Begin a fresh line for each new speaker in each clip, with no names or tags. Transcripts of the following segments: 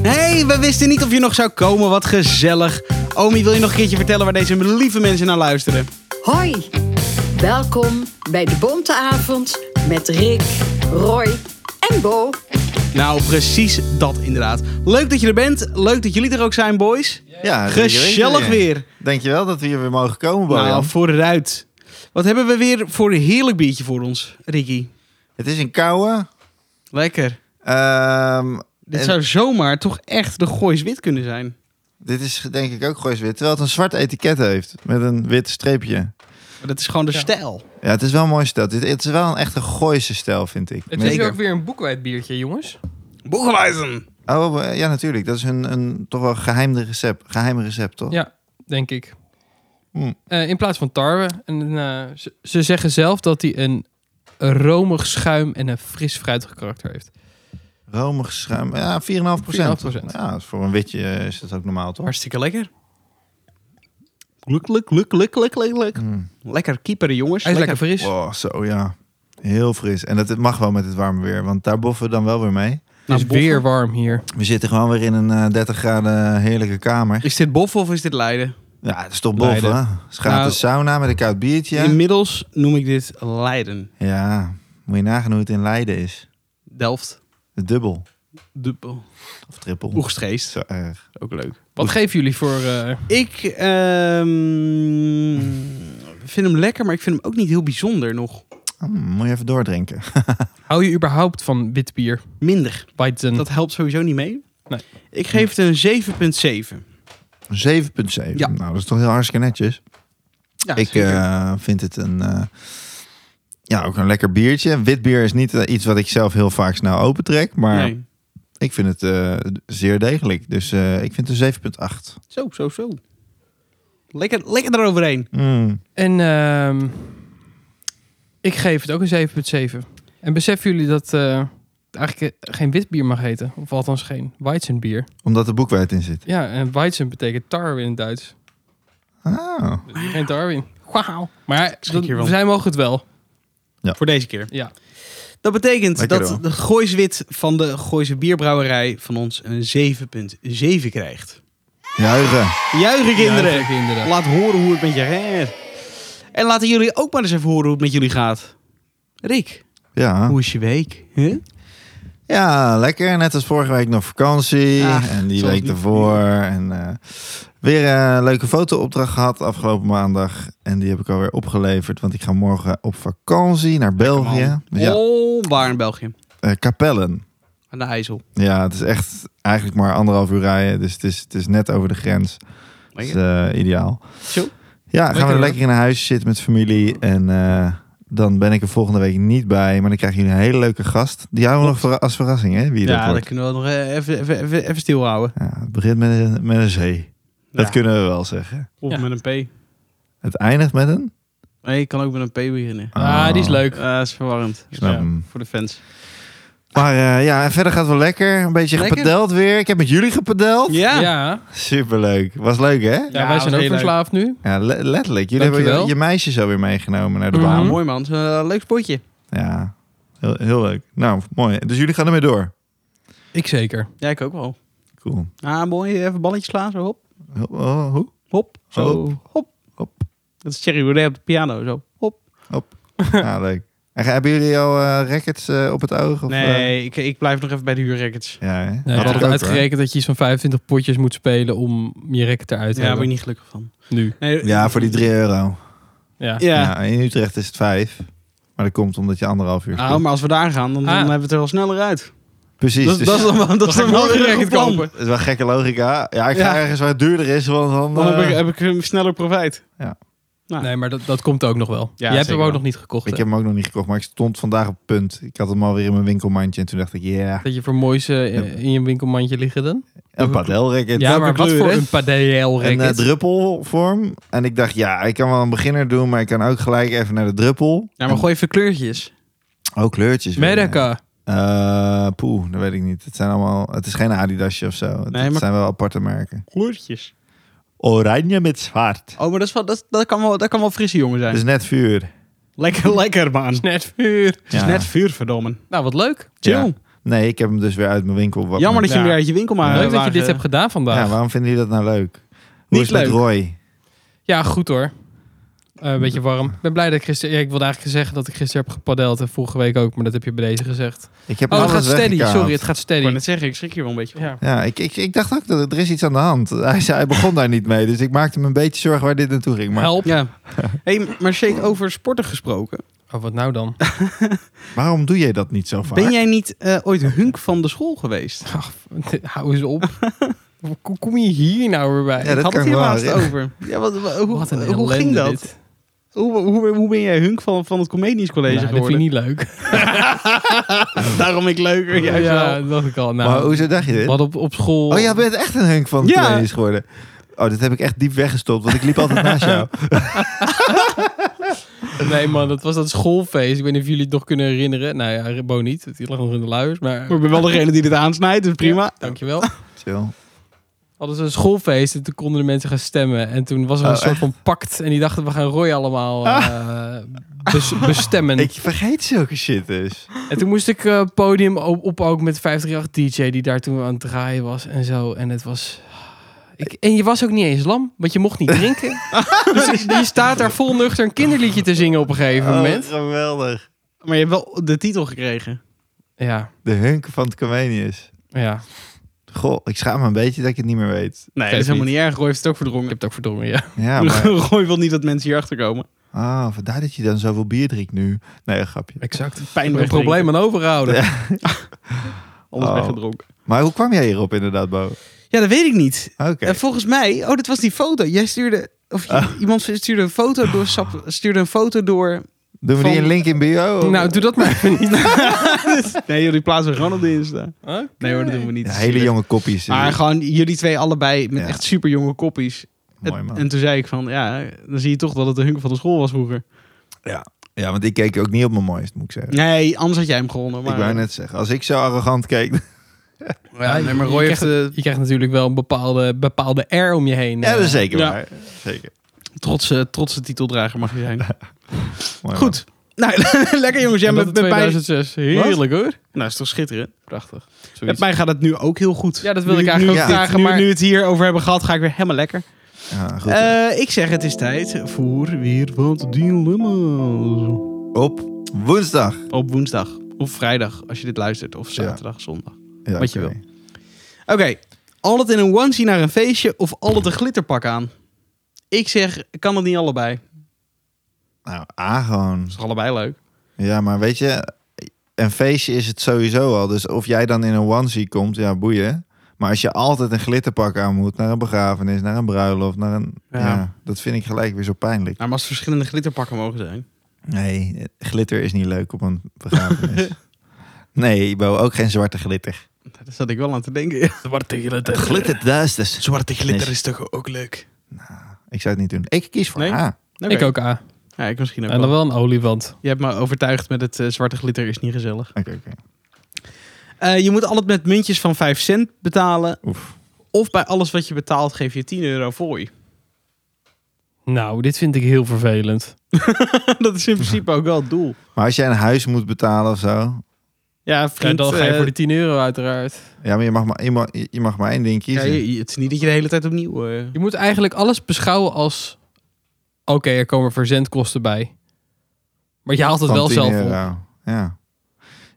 Hey, we wisten niet of je nog zou komen. Wat gezellig. Omi, wil je nog een keertje vertellen waar deze lieve mensen naar luisteren?
Hoi, welkom bij de Bonte Avond met Rick, Roy en Bo.
Nou, precies dat inderdaad. Leuk dat je er bent. Leuk dat jullie er ook zijn, boys.
Ja,
Gezellig weer.
Dankjewel dat we hier weer mogen komen, Bojan.
Nou, vooruit. Wat hebben we weer voor een heerlijk biertje voor ons, Ricky?
Het is een koude.
Lekker.
Ehm,
Dit
en
zou zomaar toch echt de Goois wit kunnen zijn.
dit is denk ik ook goois wit. Terwijl het een zwart etiket heeft. Met een wit streepje.
Maar dat is gewoon de stijl.
Ja, het is wel een mooi stijl. Dit- Het is wel een echte Gooise stijl, vind ik.
Het
Met-
is hier
Zeker.
ook weer een boekwijd biertje, jongens.
Boegwijzen.
Oh, eh, ja, natuurlijk. Dat is een, een toch wel geheim recept. Geheim recept,
Oh.
toch?
Ja, denk ik.
Hmm.
Hm.
Eh, in plaats van tarwe. En, eh, ze, ze zeggen zelf dat hij een romig schuim en een fris fruitig karakter heeft.
Romig schuim. Ja, 4,5
4,5%.
Ja, is voor een witje eh, is dat ook normaal, toch?
Hartstikke lekker. Luk, luk, luk, luk, luk, luk, luk.
Mm.
Lekker keeperen, jongens.
Hij is lekker fris.
Oh, zo ja. Heel fris. En dat het mag wel met het warme weer. Want daar boffen we dan wel weer mee.
Het is
Nou, boffen.
weer warm hier.
We zitten gewoon weer in een eh, 30 graden heerlijke kamer.
Is dit boffen of is dit Leiden?
Ja, het is toch bof, hè? Schaat
Nou.
de sauna met een koud biertje.
Inmiddels noem ik dit Leiden.
Ja, moet je nagaan hoe het in Leiden is.
Delft.
De dubbel
Dubbel.
of trippel.
Oegstgeest.
Zo erg.
Ook leuk.
Wat geven jullie voor... eh,
Ik ehm, vind hem lekker, maar ik vind hem ook niet heel bijzonder nog.
Mm, moet je even doordrinken.
hou je überhaupt van wit bier?
Minder.
Weizen.
Dat helpt sowieso niet mee.
Nee.
Ik geef het een 7,7.
7,7.
Ja.
Nou, dat is toch heel hartstikke netjes.
Ja,
ik eh, vind het een. eh, ja, ook een lekker biertje. Wit bier is niet eh, iets wat ik zelf heel vaak snel opentrek. Maar
Nee.
ik vind het eh, zeer degelijk. Dus eh, ik vind het een 7,8.
Zo, zo, zo. Lekker, lekker eroverheen.
Mm.
En ehm, ik geef het ook een 7,7. En beseffen jullie dat eh, eigenlijk eh, geen wit bier mag heten? Of althans geen Weizenbier.
Omdat er boekwijd in zit.
Ja, en Weizen betekent tarwe in het Duits.
Ah.
Dus geen tarwe in. Wauw. Maar
schrik
dat,
hiervan.
zij mogen het wel.
Voor deze keer.
Ja.
Dat betekent
Lekker
dat
wel.
de Goois Wit van de Gooise Bierbrouwerij van ons een 7,7 krijgt.
Juichen.
Juichen kinderen!
Ja, kinderen.
Laat horen hoe het met je gaat. En laten jullie ook maar eens even horen hoe het met jullie gaat. Rick,
Ja.
hoe is je week?
Oh,
Huh?
Ja, lekker. Net als vorige week nog vakantie.
Ach,
en die
zoals
week
niet.
ervoor. En eh, weer een leuke fotoopdracht gehad afgelopen maandag. En die heb ik alweer opgeleverd. Want ik ga morgen op vakantie naar België. Dus ja,
Oh, waar in België?
eh, Kapellen.
Aan de IJssel.
Ja, het is echt eigenlijk maar anderhalf uur rijden. Dus het is, het is net over de grens. Dat is
Lekker.
eh, ideaal.
Zo.
Ja, gaan we
hoor.
lekker in een huisje zitten met familie. En eh, dan ben ik er volgende week niet bij. Maar dan krijgen jullie een hele leuke gast. Die houden we nog verra- als verrassing, hè? Wie dat
Ja,
wordt.
dat kunnen we nog eh, even, even, even, even stilhouden.
Ja, het begint met een, met een zee. Dat
Ja.
kunnen we wel zeggen.
Of
Ja.
met een P.
Het eindigt met een. Oh,
Nee, ik kan ook met een P beginnen.
Ah, die is leuk.
Eh, is verwarrend.
Snap
Ja,
hem.
Voor de fans.
Maar eh, ja, en verder gaat het wel lekker. Een beetje
Lekker.
gepadeld weer. Ik heb met jullie gepadeld.
Ja.
Ja, ja.
Superleuk. Was leuk, hè?
wij
was
zijn
heel
ook
leuk.
verslaafd nu.
Ja, le- letterlijk. Jullie hebben
Dankjewel.
je, je meisjes alweer meegenomen naar de
Mhm.
baan.
Mooi man, Eh, leuk spotje.
Ja, heel, heel leuk. Nou, mooi. Dus jullie gaan ermee door.
Ik zeker.
Ja, ik ook wel.
Cool.
Ah, mooi. Even balletjes slaan, zo hop,
Oh, oh, hoe?
hop, zo, hop, hop.
Hop.
Dat is Thierry Baudet op de piano, zo, hop.
Ja, Ah, leuk. En ga- hebben jullie al eh, records eh, op het oog? Of, eh?
Nee, ik, ik blijf nog even bij de huurrecords.
Ja, hè?
Nee,
Had
ik
ik
had
ook,
uitgerekend dat je iets van 25 potjes moet spelen om je record eruit te
Ja, daar ben
hebben.
ik niet gelukkig van.
Nu.
Nee,
hoor. Ja, voor die 3 euro.
Ja.
Ja.
Ja. in Utrecht is het 5. Maar dat komt omdat je anderhalf uur
Nou,
speelt.
maar als we daar gaan, dan, dan
Ah.
hebben we het er wel sneller uit.
Precies.
Dat,
dus-
dat is dan, wel- dat is
Dan
dan
ga ik
wel
nog een
geregeld
record
plan.
kopen.
Het is wel gekke logica. Ja, ik ga
Ja.
ergens waar het duurder is, want dan...
Dan heb
eh,
ik, heb ik een sneller profijt.
Nee, maar dat, dat komt ook nog wel. Jij hebt
zeker
hem ook
wel.
nog niet gekocht.
ik
hè?
heb hem ook nog niet gekocht, maar ik stond vandaag op het punt. Ik had hem alweer in mijn winkelmandje en toen dacht ik, ja,
Dat je voor moois eh, in je winkelmandje liggen dan?
een padelracket.
Ja, maar wat
kleur,
voor
hè?
een padel
Een eh,
racket?
druppelvorm. En ik dacht, ja, ik kan wel een beginner doen, maar ik kan ook gelijk even naar de druppel.
Ja, maar gooi even kleurtjes.
En- oh, kleurtjes. weer.
Medica.
Eh, poeh, dat weet ik niet. Het zijn allemaal... Het is geen Adidasje of zo. Het,
Nee,
het
maar-
zijn wel aparte merken.
Kleurtjes.
Oranje met zwart.
Oh, maar dat, is wel, dat, dat, kan wel, dat kan wel frisse jongen zijn.
Dat is net vuur.
lekker, lekker man.
Net vuur.
Het is
Ja.
net vuur, verdomme.
Nou, wat leuk.
Chill.
Ja. Nee, ik heb hem dus weer uit mijn winkel. Wat
Jammer dat je
Ja.
hem weer uit je winkel maar...
Leuk
eh,
dat je
wagen-
dit hebt gedaan vandaag.
ja,
Ja,
waarom vinden jullie dat nou leuk? Hoe
Niet
is het met
leuk.
Roy?
goed hoor. Eh, een beetje warm. Ik ben blij dat ik gisteren... Ja, ik wilde eigenlijk zeggen dat ik gisteren heb gepadeld. En vorige week ook, maar dat heb je bij deze gezegd.
Ik heb
Oh,
Nou,
alles
het gaat steady.
weggekaapt.
Sorry, het gaat
Ik wou
steady.
net zeggen, ik schrik hier wel een beetje. van.
Ja.
Ja, ik, ik, ik dacht ook dat er- er is iets aan de hand. Hij, zei, hij begon daar niet mee, dus ik maakte me een beetje zorgen waar dit naartoe ging. Maar
Help.
Ja. Hey, maar Shake, over sporten gesproken.
Oh, wat nou dan?
waarom doe jij dat niet zo vaak?
Ben jij niet eh, ooit hunk van de school geweest?
Ach, hou eens op. Hoe kom je hier nou weer bij?
Ja, dat
Had
kan
het hier
wel,
laatst
ja.
over. Ja, wat, wa- hoe
Wat een
hoe
ellende
ging dat?
dit.
Hoe, hoe, hoe ben jij hunk van, van het Comedians College
Nou, dat vind ik
geworden?
niet leuk.
Daarom ik leuker. Juist
ja,
wel.
dat dacht ik al. Nou,
maar hoezo dacht je dit?
Wat op, op school.
Oh, jij bent echt een hunk van de
Ja.
ja. geworden. Oh, dit heb ik echt diep weggestopt, want ik liep altijd naast jou.
Nee man, dat was dat schoolfeest. Ik weet niet of jullie het nog kunnen herinneren. Nou ja, Bo niet. Die lag nog in de luiers. Maar
Maar ik ben wel degene die dit aansnijdt, dus prima.
Ja, dankjewel.
Chill.
Hadden ze een schoolfeest en toen konden de mensen gaan stemmen. En toen was er een
Oh, Ah.
soort van pact. En die dachten we gaan Roy allemaal eh, bes- bestemmen.
Ik vergeet zulke shit dus.
En toen moest ik eh, podium op, op ook met 538 DJ die daar toen aan het draaien was en zo. En het was... Ik, en je was ook niet eens lam, want je mocht niet drinken. dus je staat daar vol nuchter een kinderliedje te zingen op een
Oh.
gegeven moment.
geweldig.
Maar je hebt wel de titel gekregen.
Ja,
De hunk van het Comenius.
ja.
Goh, ik schaam me een beetje dat ik het niet meer weet.
Nee, dat
Geeft
is helemaal
niet.
niet erg. Roy heeft het ook
Ik
verdrongen.
heb het ook verdrongen, ja.
Ja, maar...
Roy wil niet dat mensen hierachter komen.
Ah, vandaar dat je dan zoveel bier drinkt nu. Nee, een grapje.
Exact.
Pijn
een probleem aan overhouden.
Ja.
Alles
Oh.
weggedronken.
Maar hoe kwam jij hierop inderdaad, Bo? Oké.
Ja, dat weet ik niet. En volgens mij... Oh, dat was die foto. Jij stuurde... Of
Ah.
je- iemand stuurde een foto door... Sap, stuurde een foto door...
Doen we die
van-
een link in bio?
Nou, doe dat maar even niet.
Nee, jullie plaatsen we gewoon op de Insta. Nee hoor, dat doen we niet.
Ja, hele jonge kopjes.
Maar gewoon jullie twee allebei met
Ja.
echt super jonge koppies.
Mooi man.
En toen zei ik van, ja, dan zie je toch dat het de hunk van de school was vroeger.
Ja, want ik keek ook niet op mijn mooist, moet ik zeggen.
Nee, anders had jij hem gewonnen. Maar,
Ik wou net zeggen, als ik zo arrogant keek...
Ja, nee, maar
je,
Roy
krijgt,
heeft... eh,
je krijgt natuurlijk wel een bepaalde, bepaalde air om je heen. eh,
Ja, dus dat is zeker
Ja.
waar. Zeker.
de trotse, trotse titeldrager mag je zijn.
Mooi man.
Goed. Nou, lekker jongens. Jij
Ja,
met, met mij...
2006. Heerlijk hoor.
Nou, is toch schitterend.
Prachtig.
Met mij gaat het nu ook heel goed.
Ja, dat wilde
Nu-
ik eigenlijk
nu-
ook
ja.
vragen,
Nu,
maar...
nu we het hier over hebben gehad, ga ik weer helemaal lekker.
Ja, goed.
Eh, ik zeg, het is tijd voor weer wat dilemma's.
Op woensdag.
Op woensdag of vrijdag, als je dit luistert. Of zaterdag, zondag.
Ja,
Wat je
oké.
Oké, altijd in een onesie naar een feestje of altijd een glitterpak aan? Ik zeg, kan het niet allebei.
Nou, A gewoon.
Is toch allebei leuk?
Ja, maar weet je, een feestje is het sowieso al. Dus of jij dan in een onesie komt, ja, boeien. Maar als je altijd een glitterpak aan moet naar een begrafenis, naar een bruiloft, naar een...
Ja.
Ja, dat vind ik gelijk weer zo
Nou,
pijnlijk.
maar als er verschillende glitterpakken mogen zijn.
Nee, glitter is niet leuk op een begrafenis. nee, Bo, ook geen zwarte glitter.
Daar zat ik wel aan te denken.
Zwarte glitter.
Glitterduisters.
Zwarte
glitter
is toch ook leuk?
Ik zou het niet doen. Ik kies voor
Nee?
A.
Ik ook A.
Ja, ik misschien ook
En dan
wel.
wel een oliewind.
Je hebt me overtuigd met het eh, zwarte glitter is niet gezellig.
Oké, oké.
Eh, je moet altijd met muntjes van 5 cent betalen.
Oef.
Of bij alles wat je betaalt geef je 10 euro voor je.
Nou, dit vind ik heel vervelend.
dat is in principe ook wel het doel.
Maar als jij een huis moet betalen of zo,
Ja, vriend.
dan ga je
eh,
voor die 10 euro uiteraard.
Ja, maar je mag maar, je mag, je mag maar één ding
ja,
kiezen.
je- je- het is niet dat je de hele tijd opnieuw... eh,
Je moet eigenlijk alles beschouwen als... Oké, er komen verzendkosten bij. Maar je haalt het
Van
wel
10
zelf op.
euro. Ja.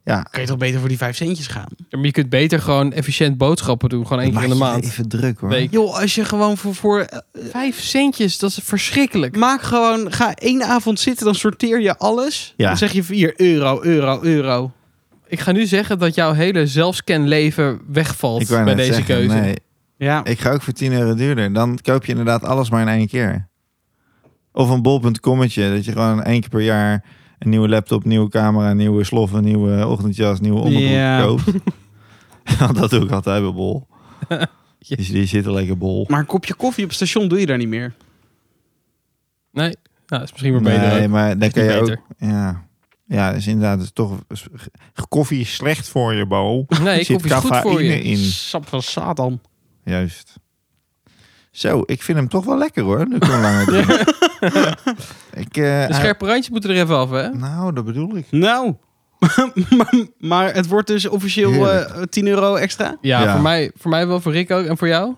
Ja.
kan je toch beter voor die 5 centjes gaan?
Ja, maar je kunt beter gewoon efficiënt boodschappen doen. Gewoon één keer in de
Maak je
maand.
Even druk hoor.
Week.
Joh, als je gewoon voor, voor
Vijf centjes, dat is verschrikkelijk.
Maak gewoon, ga één avond zitten, dan sorteer je alles.
Ja.
Dan zeg je 4 euro, euro, euro.
Ik ga nu zeggen dat jouw hele zelfscanleven wegvalt
Ik wou
bij
net
deze
zeggen,
keuze.
Nee,
Ja,
ik ga ook voor 10 euro duurder. Dan koop je inderdaad alles maar in één keer. Of een bol.commetje. Dat je gewoon één keer per jaar een nieuwe laptop, nieuwe camera, nieuwe sloffen, nieuwe ochtendjas, nieuwe onderbroek
Ja.
koopt. Want dat doe ik altijd bij bol.
Ja.
Dus die zitten lekker bol.
maar een kopje koffie op het station doe je daar niet meer.
Nee, nou, dat is misschien maar beter.
Nee,
ook.
maar dan
Is
kan
niet
je ook...
beter.
Ja. Ja, is inderdaad is toch... is- Koffie is slecht voor je, Bo.
Nee,
Zit
koffie is goed voor
cafeïne
je.
in.
Sap van Satan.
Juist. Zo, ik vind hem toch wel lekker hoor, nu ik hem langer drink. ik, eh,
De scherpe randjes moeten er even af, hè?
hij- Nou, dat bedoel ik.
Nou, maar, maar het wordt dus officieel
Heerlijk.
eh, 10 euro extra.
Ja,
Ja.
Voor, mij, voor mij wel, voor Rick ook. En voor jou?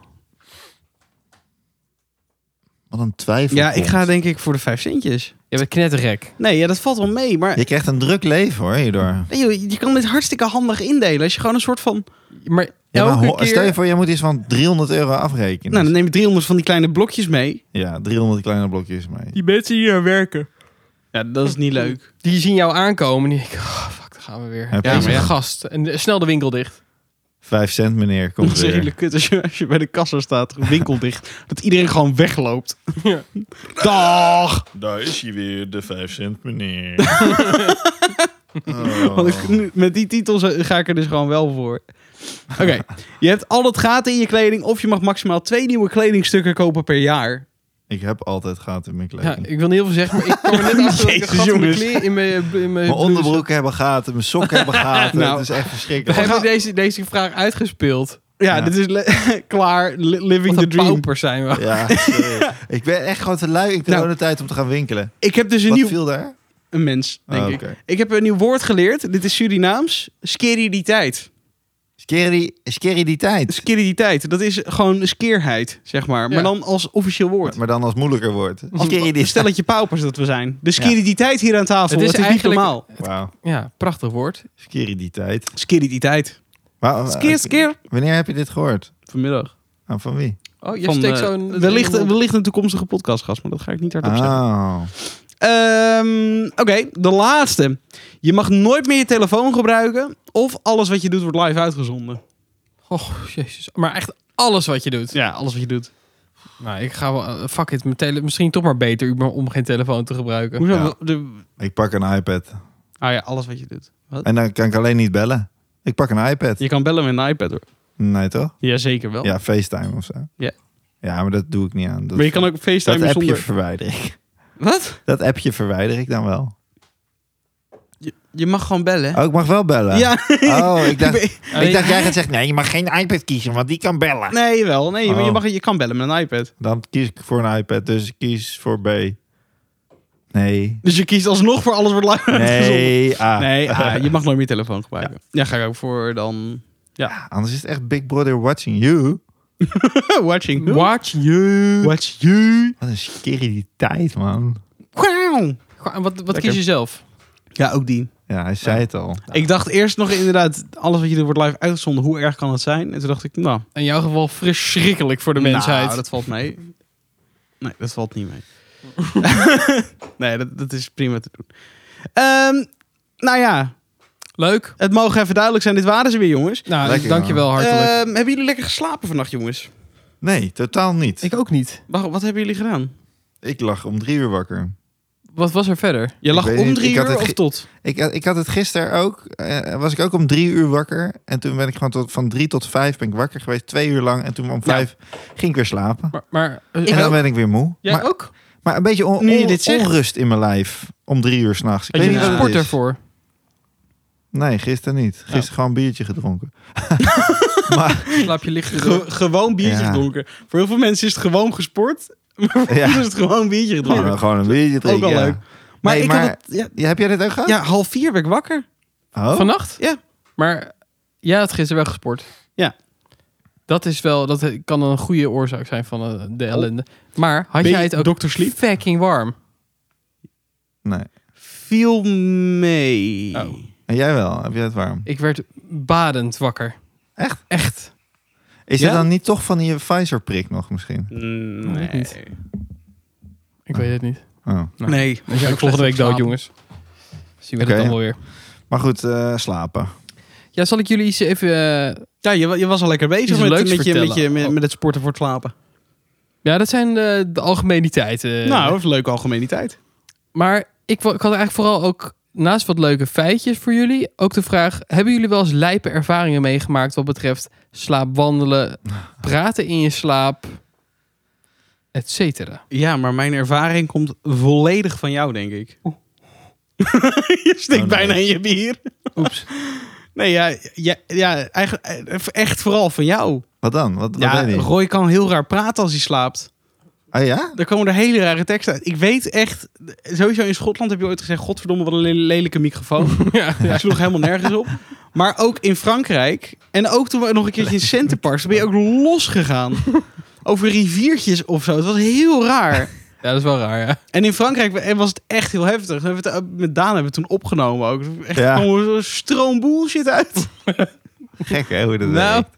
Wat een twijfel.
Ja, ik ga denk ik voor de 5 centjes.
Je bent knetterrek.
Nee, ja, dat valt wel mee. Maar
Je krijgt een druk leven hoor hierdoor.
nee, joh, je kan dit hartstikke handig indelen. Als je gewoon een soort van...
Maar
Ja, maar
elke
ho-
keer...
Stel je voor, je moet iets van 300 euro afrekenen.
Nou, dan neem je 300 van die kleine blokjes mee.
Ja, 300 kleine blokjes mee.
Die mensen die hier werken.
Ja, dat is niet leuk.
Die zien jou aankomen en die denken, oh, fuck, daar gaan we weer. Ja,
Ja,
maar
precies.
ja, gast. En eh, snel de winkel dicht.
Vijf cent meneer, komt
dat is
weer.
redelijk kut als je, als je bij de kassa staat, winkel dicht. Dat iedereen gewoon wegloopt.
Ja.
Dag!
Daar is hij weer, de 5 cent meneer. Oh,
Want ik- nu- met die titel zo- ga ik er dus gewoon wel voor. Oké, je hebt al dat gaten in je kleding... of je mag maximaal twee nieuwe kledingstukken kopen per jaar.
Ik heb altijd gaten in mijn
Ja,
kleding.
ik wil niet heel veel zeggen, maar ik kwam er net achter dat ik een
Jezus,
gat in mijn
jongens.
kleren- in mijn... in mijn
mijn
blouse had.
onderbroeken hebben gaten, mijn sokken hebben gaten.
Nou.
het is echt
dus- We
verschrikkelijk.
hebben deze, deze vraag uitgespeeld.
Ja,
Ja.
dit is le- klaar. li- living
Wat
the
een
dream.
paupers zijn we.
Ja, serieus. ik ben echt gewoon te lui in
Nou.
coronatijd om te gaan winkelen.
Ik heb dus een
Wat
nieuw...
viel daar?
Een mens, denk
Oh,
ik.
oké.
Ik heb een nieuw woord geleerd. Dit is Surinaams. Skeriditeit.
Scary, scary die tijd.
Skeriditeit. Dat is gewoon skeerheid, zeg maar.
Ja.
Maar dan als officieel woord.
Maar dan als moeilijker woord. Scary die
Stel dat je paupers dat we zijn. De skeriditeit hier aan tafel.
Het is
Het is, niet
eigenlijk-
normaal.
Wauw,
Ja, prachtig woord.
scary die tijd.
Skeriditeit.
Wauw,
Skeer, skeer.
Wanneer heb je dit gehoord?
Vanmiddag.
Ah, van wie?
Oh, je
Van,
steekt
eh,
zo'n...
Wellicht, wellicht een toekomstige podcastgast, maar dat ga ik niet hardop zeggen.
Oh.
Ehm, Oké, de laatste. Je mag nooit meer je telefoon gebruiken. Of alles wat je doet wordt live uitgezonden.
Oh, jezus. Maar echt alles wat je doet.
Ja, alles wat je doet.
Nou, ik ga wel... eh, Fuck it, mijn tele misschien toch maar beter u- om geen telefoon te gebruiken.
Hoezo?
Ja.
De-
Ik pak een iPad.
Ah ja, alles wat je doet.
En dan kan ik alleen niet bellen. Ik pak een iPad.
Je kan bellen met een iPad hoor.
Nee, toch?
Jazeker wel.
Ja, FaceTime of zo.
Oh. Ja.
Ja, maar dat doe ik niet aan. Dat,
Maar je kan ook FaceTime
dat appje
zonder...
verwijder ik.
Wat?
Dat appje verwijder ik dan wel.
Je mag gewoon bellen.
Oh, ik mag wel bellen.
Ja.
Oh, ik Oh, dacht,
Alleen-
ik dacht jij gaat zeggen, nee, je mag geen iPad kiezen, want die kan bellen.
Nee, wel. Nee, maar je,
Oh.
mag, je kan bellen met een iPad.
Dan kies ik voor een iPad, dus ik kies voor B. Nee.
Dus je kiest alsnog voor alles wordt live uitgezonden.
Nee, A.
Nee, ah, je mag nooit meer telefoon gebruiken. Ja, ga ik ook voor dan...
Ja, anders is het echt Big Brother watching you.
Watching.
Watch you.
Watch you.
Wat een skeriteit, man.
Wow.
Goh, en Wat, wat
Lekker.
kies je zelf?
Ja, ook die.
Ja, hij zei het al.
Ik dacht eerst nog inderdaad, alles wat je doet wordt live uitgezonden. Hoe erg kan het zijn? En toen dacht ik, nou...
In jouw geval verschrikkelijk voor de mensheid.
Nou, dat valt mee. Nee, dat valt niet mee. nee, dat, dat is prima te doen. Ehm, nou ja,
Leuk.
het mogen even duidelijk zijn. Dit waren ze weer, jongens.
Nou,
Lekker,
dankjewel hartelijk.
Ehm, hebben jullie lekker geslapen vannacht, jongens?
Nee, totaal niet. Ik,
ik ook niet.
Wacht, wat hebben jullie gedaan?
lag om drie uur wakker.
Wat was er verder?
Je
Ik
lag
weet
om
niet,
drie
ik had
uur
het
of
ge-
tot?
Ik, ik had het gisteren ook, eh, was ik ook om drie uur wakker. En toen ben ik gewoon tot, van drie tot vijf ben ik wakker geweest, twee uur lang. En toen om vijf ging ik weer slapen.
Maar, maar eh,
en dan
ook-
ben ik weer moe.
jij
maar,
ook?
maar een beetje on-
Nu je
on-
dit zegt.
onrust in mijn lijf om drie uur s'nachts. Ik
Had
weet
je
niet
een
wat het
sport
is.
daarvoor?
Nee, gisteren niet. Gisteren
Oh.
gewoon een biertje gedronken. maar
Slaap je licht
Ge- gewoon biertje
Ja.
gedronken. Voor heel veel mensen is het gewoon gesport.
ja,
is het gewoon biertje gedronken.
gewoon, eh, gewoon een biertje drinken.
wel
ja.
leuk. maar
nee,
ik
maar-
had het... Ja,
Ja, heb jij dit ook gehad?
ja, half vier ben ik wakker.
Oh?
Vannacht?
Ja.
Maar jij had gisteren wel gesport.
Ja.
Dat is wel, dat kan een goede oorzaak zijn van eh, de ellende. Maar had
Oh. Ben
jij
je
het ook
Dr. Sleep?
fucking warm?
Nee.
Viel mee.
Oh.
En jij wel? Heb jij het warm?
Ik werd badend wakker.
Echt?
Echt.
Is
Ja?
het dan niet toch van die Pfizer-prik nog misschien?
weet
Nee.
niet. Ik weet het niet.
Oh.
Nee.
We zijn
ook
ook volgende week dood,
slapen.
jongens. Zien we dat
Oké,
dan
ja.
wel weer.
Maar goed, eh, slapen.
Ja, zal ik jullie iets even... eh,
Ja, je, wa- je was al lekker bezig
Iets
met,
leuks
met, je, met,
vertellen.
je, met,
Oh.
met het sporten voor het slapen.
ja, dat zijn de, de algemeniteiten.
nou, dat is een leuke algemeniteit.
Maar ik, wa- ik had eigenlijk vooral ook, naast wat leuke feitjes voor jullie, ook de vraag: hebben jullie wel eens lijpe ervaringen meegemaakt wat betreft slaapwandelen, praten in je slaap, et cetera?
Ja, maar mijn ervaring komt volledig van jou, denk ik. je stikt
Oh, nee.
bijna in je bier.
Oeps.
Nee, ja, ja, ja eigenlijk, eh, echt vooral van jou.
Wat dan? Wat, wat
Ja,
weet ik?
Roy kan heel raar praten als hij slaapt.
Ah ja?
Daar komen er hele rare teksten uit. Ik weet echt, sowieso in Schotland heb je ooit gezegd: Godverdomme, wat een le- lelijke microfoon.
Ja,
Ja. Sloeg helemaal nergens op. Maar ook in Frankrijk. En ook toen we nog een keertje in Centerparks. ben je ook losgegaan. Over riviertjes of zo. Het was heel raar.
dat is wel raar, ja.
En in Frankrijk was het echt heel heftig. We hebben het, eh, met Daan hebben we het toen opgenomen ook. Echt
Ja.
gewoon zo'n stroom bullshit uit.
Gek hè, hoe dat
Nou.
werkt.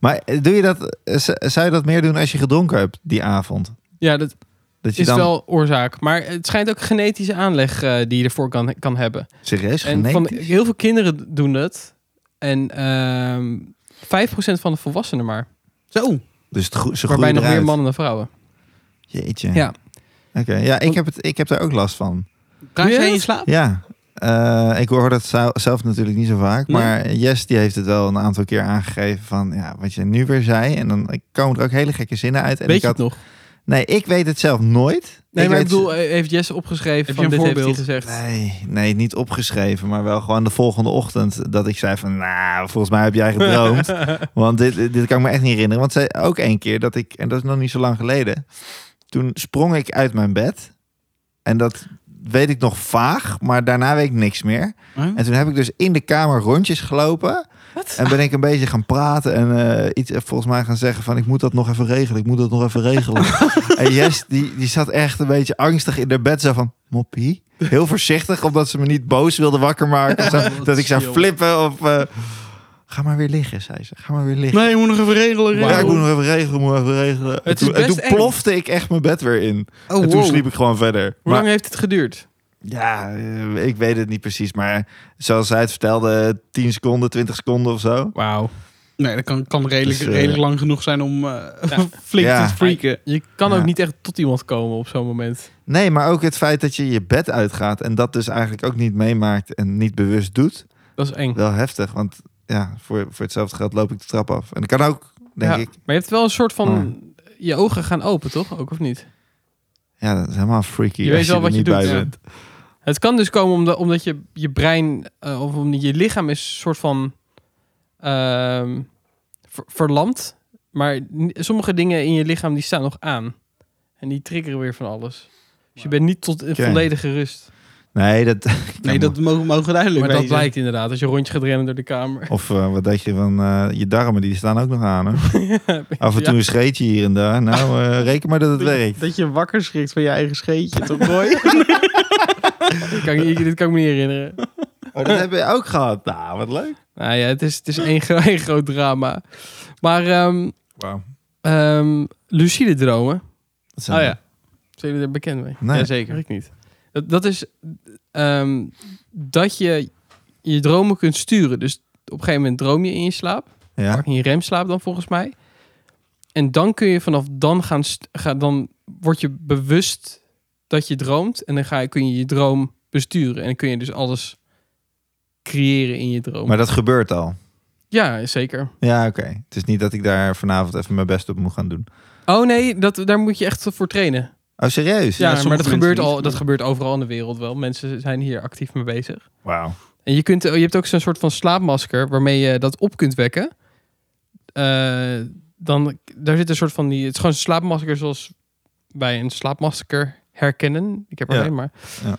Maar eh, doe je dat, eh, z- zou je dat meer doen als je gedronken hebt die avond?
Ja, dat
Dat je
is
dan
wel oorzaak. Maar het schijnt ook genetische aanleg eh, die je ervoor kan, kan hebben.
serieus
En van,
genetisch?
heel veel kinderen doen dat. En ehm 5% van de volwassenen maar.
Zo.
Dus het gro- ze
waarbij
groeien
nog meer
eruit.
mannen dan vrouwen.
Jeetje.
Ja.
Oké, ja, ik heb, het, ik heb daar ook last van.
Praat
Ja.
jij in je slaap?
Ja, Eh, ik hoor dat zou- zelf natuurlijk niet zo vaak.
Nee.
Maar Jess die heeft het wel een aantal keer aangegeven van ja, wat je nu weer zei. En dan komen er ook hele gekke zinnen uit. En
Weet
ik
je het
had,
nog?
nee, ik weet het zelf nooit.
Nee, maar
weet-
ik bedoel, eh, heeft Jesse opgeschreven
Heb
van
je
dit
een
heeft hij
voorbeeld?
gezegd.
Nee, nee, niet opgeschreven, maar wel gewoon de volgende ochtend dat ik zei van, nou, volgens mij heb jij gedroomd. want dit, dit kan ik me echt niet herinneren. Want zij ook één keer dat ik, en dat is nog niet zo lang geleden, toen sprong ik uit mijn bed. En dat weet ik nog vaag, maar daarna weet ik niks meer. En toen heb ik dus in de kamer rondjes gelopen. En ben ik een beetje gaan praten en eh, iets eh, volgens mij gaan zeggen van ik moet dat nog even regelen, ik moet dat nog even regelen. en Jess die, die zat echt een beetje angstig in haar bed zo van moppie. Heel voorzichtig, omdat ze me niet boos wilde wakker maken. of zo,
Oh, wat
dat ik zou
chill.
flippen of... eh, Ga maar weer liggen, zei ze. Ga maar weer liggen.
Nee, je moet nog even regelen.
Ja,
Wauw.
ik
regelen.
moet nog even regelen, moet even regelen. en
is
toen, en
best
toen
eng.
plofte ik echt mijn bed weer in.
Oh,
en toen
wow.
sliep ik gewoon verder.
Hoe
Maar-
lang heeft het geduurd?
ja, eh, ik weet het niet precies, maar zoals zij het vertelde, 10 seconden, 20 seconden of zo.
Wauw.
Nee, dat kan, kan redelijk,
Dus, eh,
redelijk lang genoeg zijn om eh, flink
Ja.
te freaken.
Je kan
Ja.
ook niet echt tot iemand komen op zo'n moment.
Nee, maar ook het feit dat je je bed uitgaat en dat dus eigenlijk ook niet meemaakt en niet bewust doet,
Dat is eng.
wel heftig. Want ja, voor, voor hetzelfde geld loop ik de trap af. En dat kan ook, denk
Ja.
ik.
Maar je hebt wel een soort van... Je ogen gaan open, toch? Ook of niet?
Ja, dat is helemaal freaky.
Je
als
weet wel
er
wat je
niet
doet,
bij
ja.
bent.
Het kan dus komen omdat, omdat je, je brein... eh, of omdat je lichaam is een soort van... ehm, ver- verlamd. Maar ni- sommige dingen in je lichaam die staan nog aan. En die triggeren weer van alles. Dus je bent niet tot een
Oké.
volledige rust.
Nee, dat.
Nee, dat mogen, mogen duidelijk
Maar dat
wezen.
blijkt inderdaad. Als je een rondje gaat rennen door de kamer.
Of eh, wat dacht je van eh, je darmen, die staan ook nog aan. Hè? Af en toe
Ja.
een scheetje hier en daar. Nou, eh, reken maar dat het werkt.
Dat je wakker schrikt van je eigen scheetje, toch Roy?
Dit kan, ik- dit kan ik me niet herinneren.
Oh, dat hebben we ook gehad. Nou, wat leuk.
Nou ja, het is, het is één, gro- één groot drama. Maar ehm,
Wauw.
ehm, lucide dromen.
Dat zijn
Oh ja. Zijn jullie er bekend mee?
Nee.
Jazeker. Ik niet. Dat, dat is ehm, dat je je dromen kunt sturen. Dus op een gegeven moment droom je in je slaap.
Ja.
in je remslaap dan volgens mij. En dan kun je vanaf dan gaan, st- ga- dan word je bewust dat je droomt en dan ga je, kun je je droom besturen en dan kun je dus alles creëren in je droom.
Maar dat gebeurt al.
Ja, zeker.
Ja, oké. Het is niet dat ik daar vanavond even mijn best op moet gaan doen.
Oh nee, dat, daar moet je echt voor trainen.
Oh, serieus?
Ja,
sommige
maar dat
mensen
gebeurt,
niet,
al,
maar-
dat gebeurt overal in de wereld wel. Mensen zijn hier actief mee bezig.
Wauw.
En je, kunt, je hebt ook zo'n soort van slaapmasker waarmee je dat op kunt wekken. Eh, dan, daar zit een soort van die. Het is gewoon een slaapmasker zoals wij een slaapmasker herkennen. Ik heb er
Ja.
alleen maar.
Ja.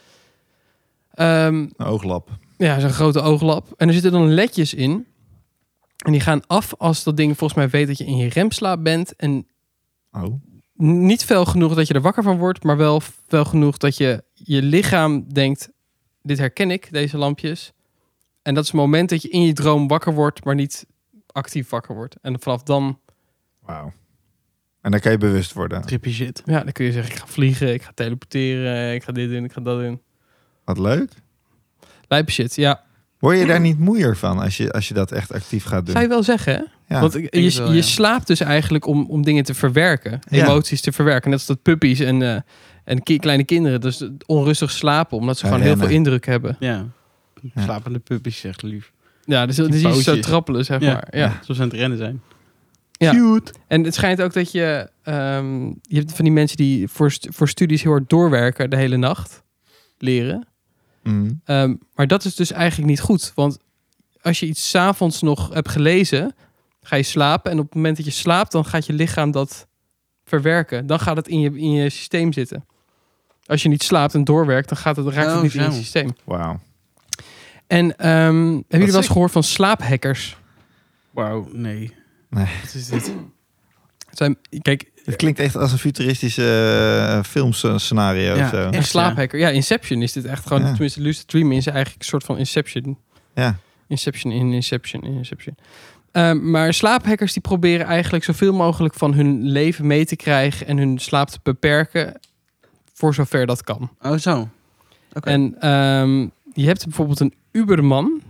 Ehm,
Een ooglap.
ja, zo'n grote ooglap. En er zitten dan ledjes in. En die gaan af als dat ding volgens mij weet dat je in je remslaap bent. En
Oh.
n- niet fel genoeg dat je er wakker van wordt, maar wel fel genoeg dat je je lichaam denkt: dit herken ik, deze lampjes. En dat is het moment dat je in je droom wakker wordt, maar niet actief wakker wordt. En vanaf dan,
Wauw. En daar kan je bewust worden.
Trippy shit.
ja, dan kun je zeggen: ik ga vliegen, ik ga teleporteren, ik ga dit doen, ik ga dat doen.
Wat leuk.
Lijpe shit, ja.
Word je daar niet moeier van als je, als je dat echt actief gaat doen?
Zou je wel zeggen, hè?
Ja.
Want
denk
je,
het wel,
je
ja.
slaapt dus eigenlijk om, om dingen te verwerken,
Ja.
emoties te verwerken. Net als dat puppies en, eh, en ki- kleine kinderen dus onrustig slapen, omdat ze
Ja,
gewoon heel veel
rennen.
indruk hebben.
Ja.
Ja.
Slapende puppies, zegt lief.
Ja, dus dat is iets
pootjes.
zo trappelen, zeg
Ja.
maar. Ja.
Zoals ze aan het rennen zijn.
Ja.
Cute.
En het schijnt ook dat je, ehm, je hebt van die mensen die voor, st- voor studies heel hard doorwerken de hele nacht leren.
Mm.
Ehm, maar dat is dus eigenlijk niet goed. Want als je iets s'avonds nog hebt gelezen, ga je slapen. En op het moment dat je slaapt, dan gaat je lichaam dat verwerken. Dan gaat het in je, in je systeem zitten. Als je niet slaapt en doorwerkt, dan gaat het, raakt het
Oh,
niet in
zo.
je systeem.
Wauw.
En ehm, hebben jullie wel eens
sick.
gehoord van slaaphackers?
Wauw, nee.
Nee.
Wat is dit?
Het Zijn, kijk,
Het klinkt echt als een futuristische eh, filmscenario
Ja,
of zo.
echt.
een slaaphacker. Ja, Inception is dit echt gewoon.
Ja.
Tenminste, lucid dreaming is eigenlijk een soort van Inception.
Ja.
Inception in Inception in Inception. Ehm, maar slaaphackers die proberen eigenlijk zoveel mogelijk van hun leven mee te krijgen en hun slaap te beperken voor zover dat kan.
Oh, zo. Oké.
En ehm, je hebt bijvoorbeeld een Uberman.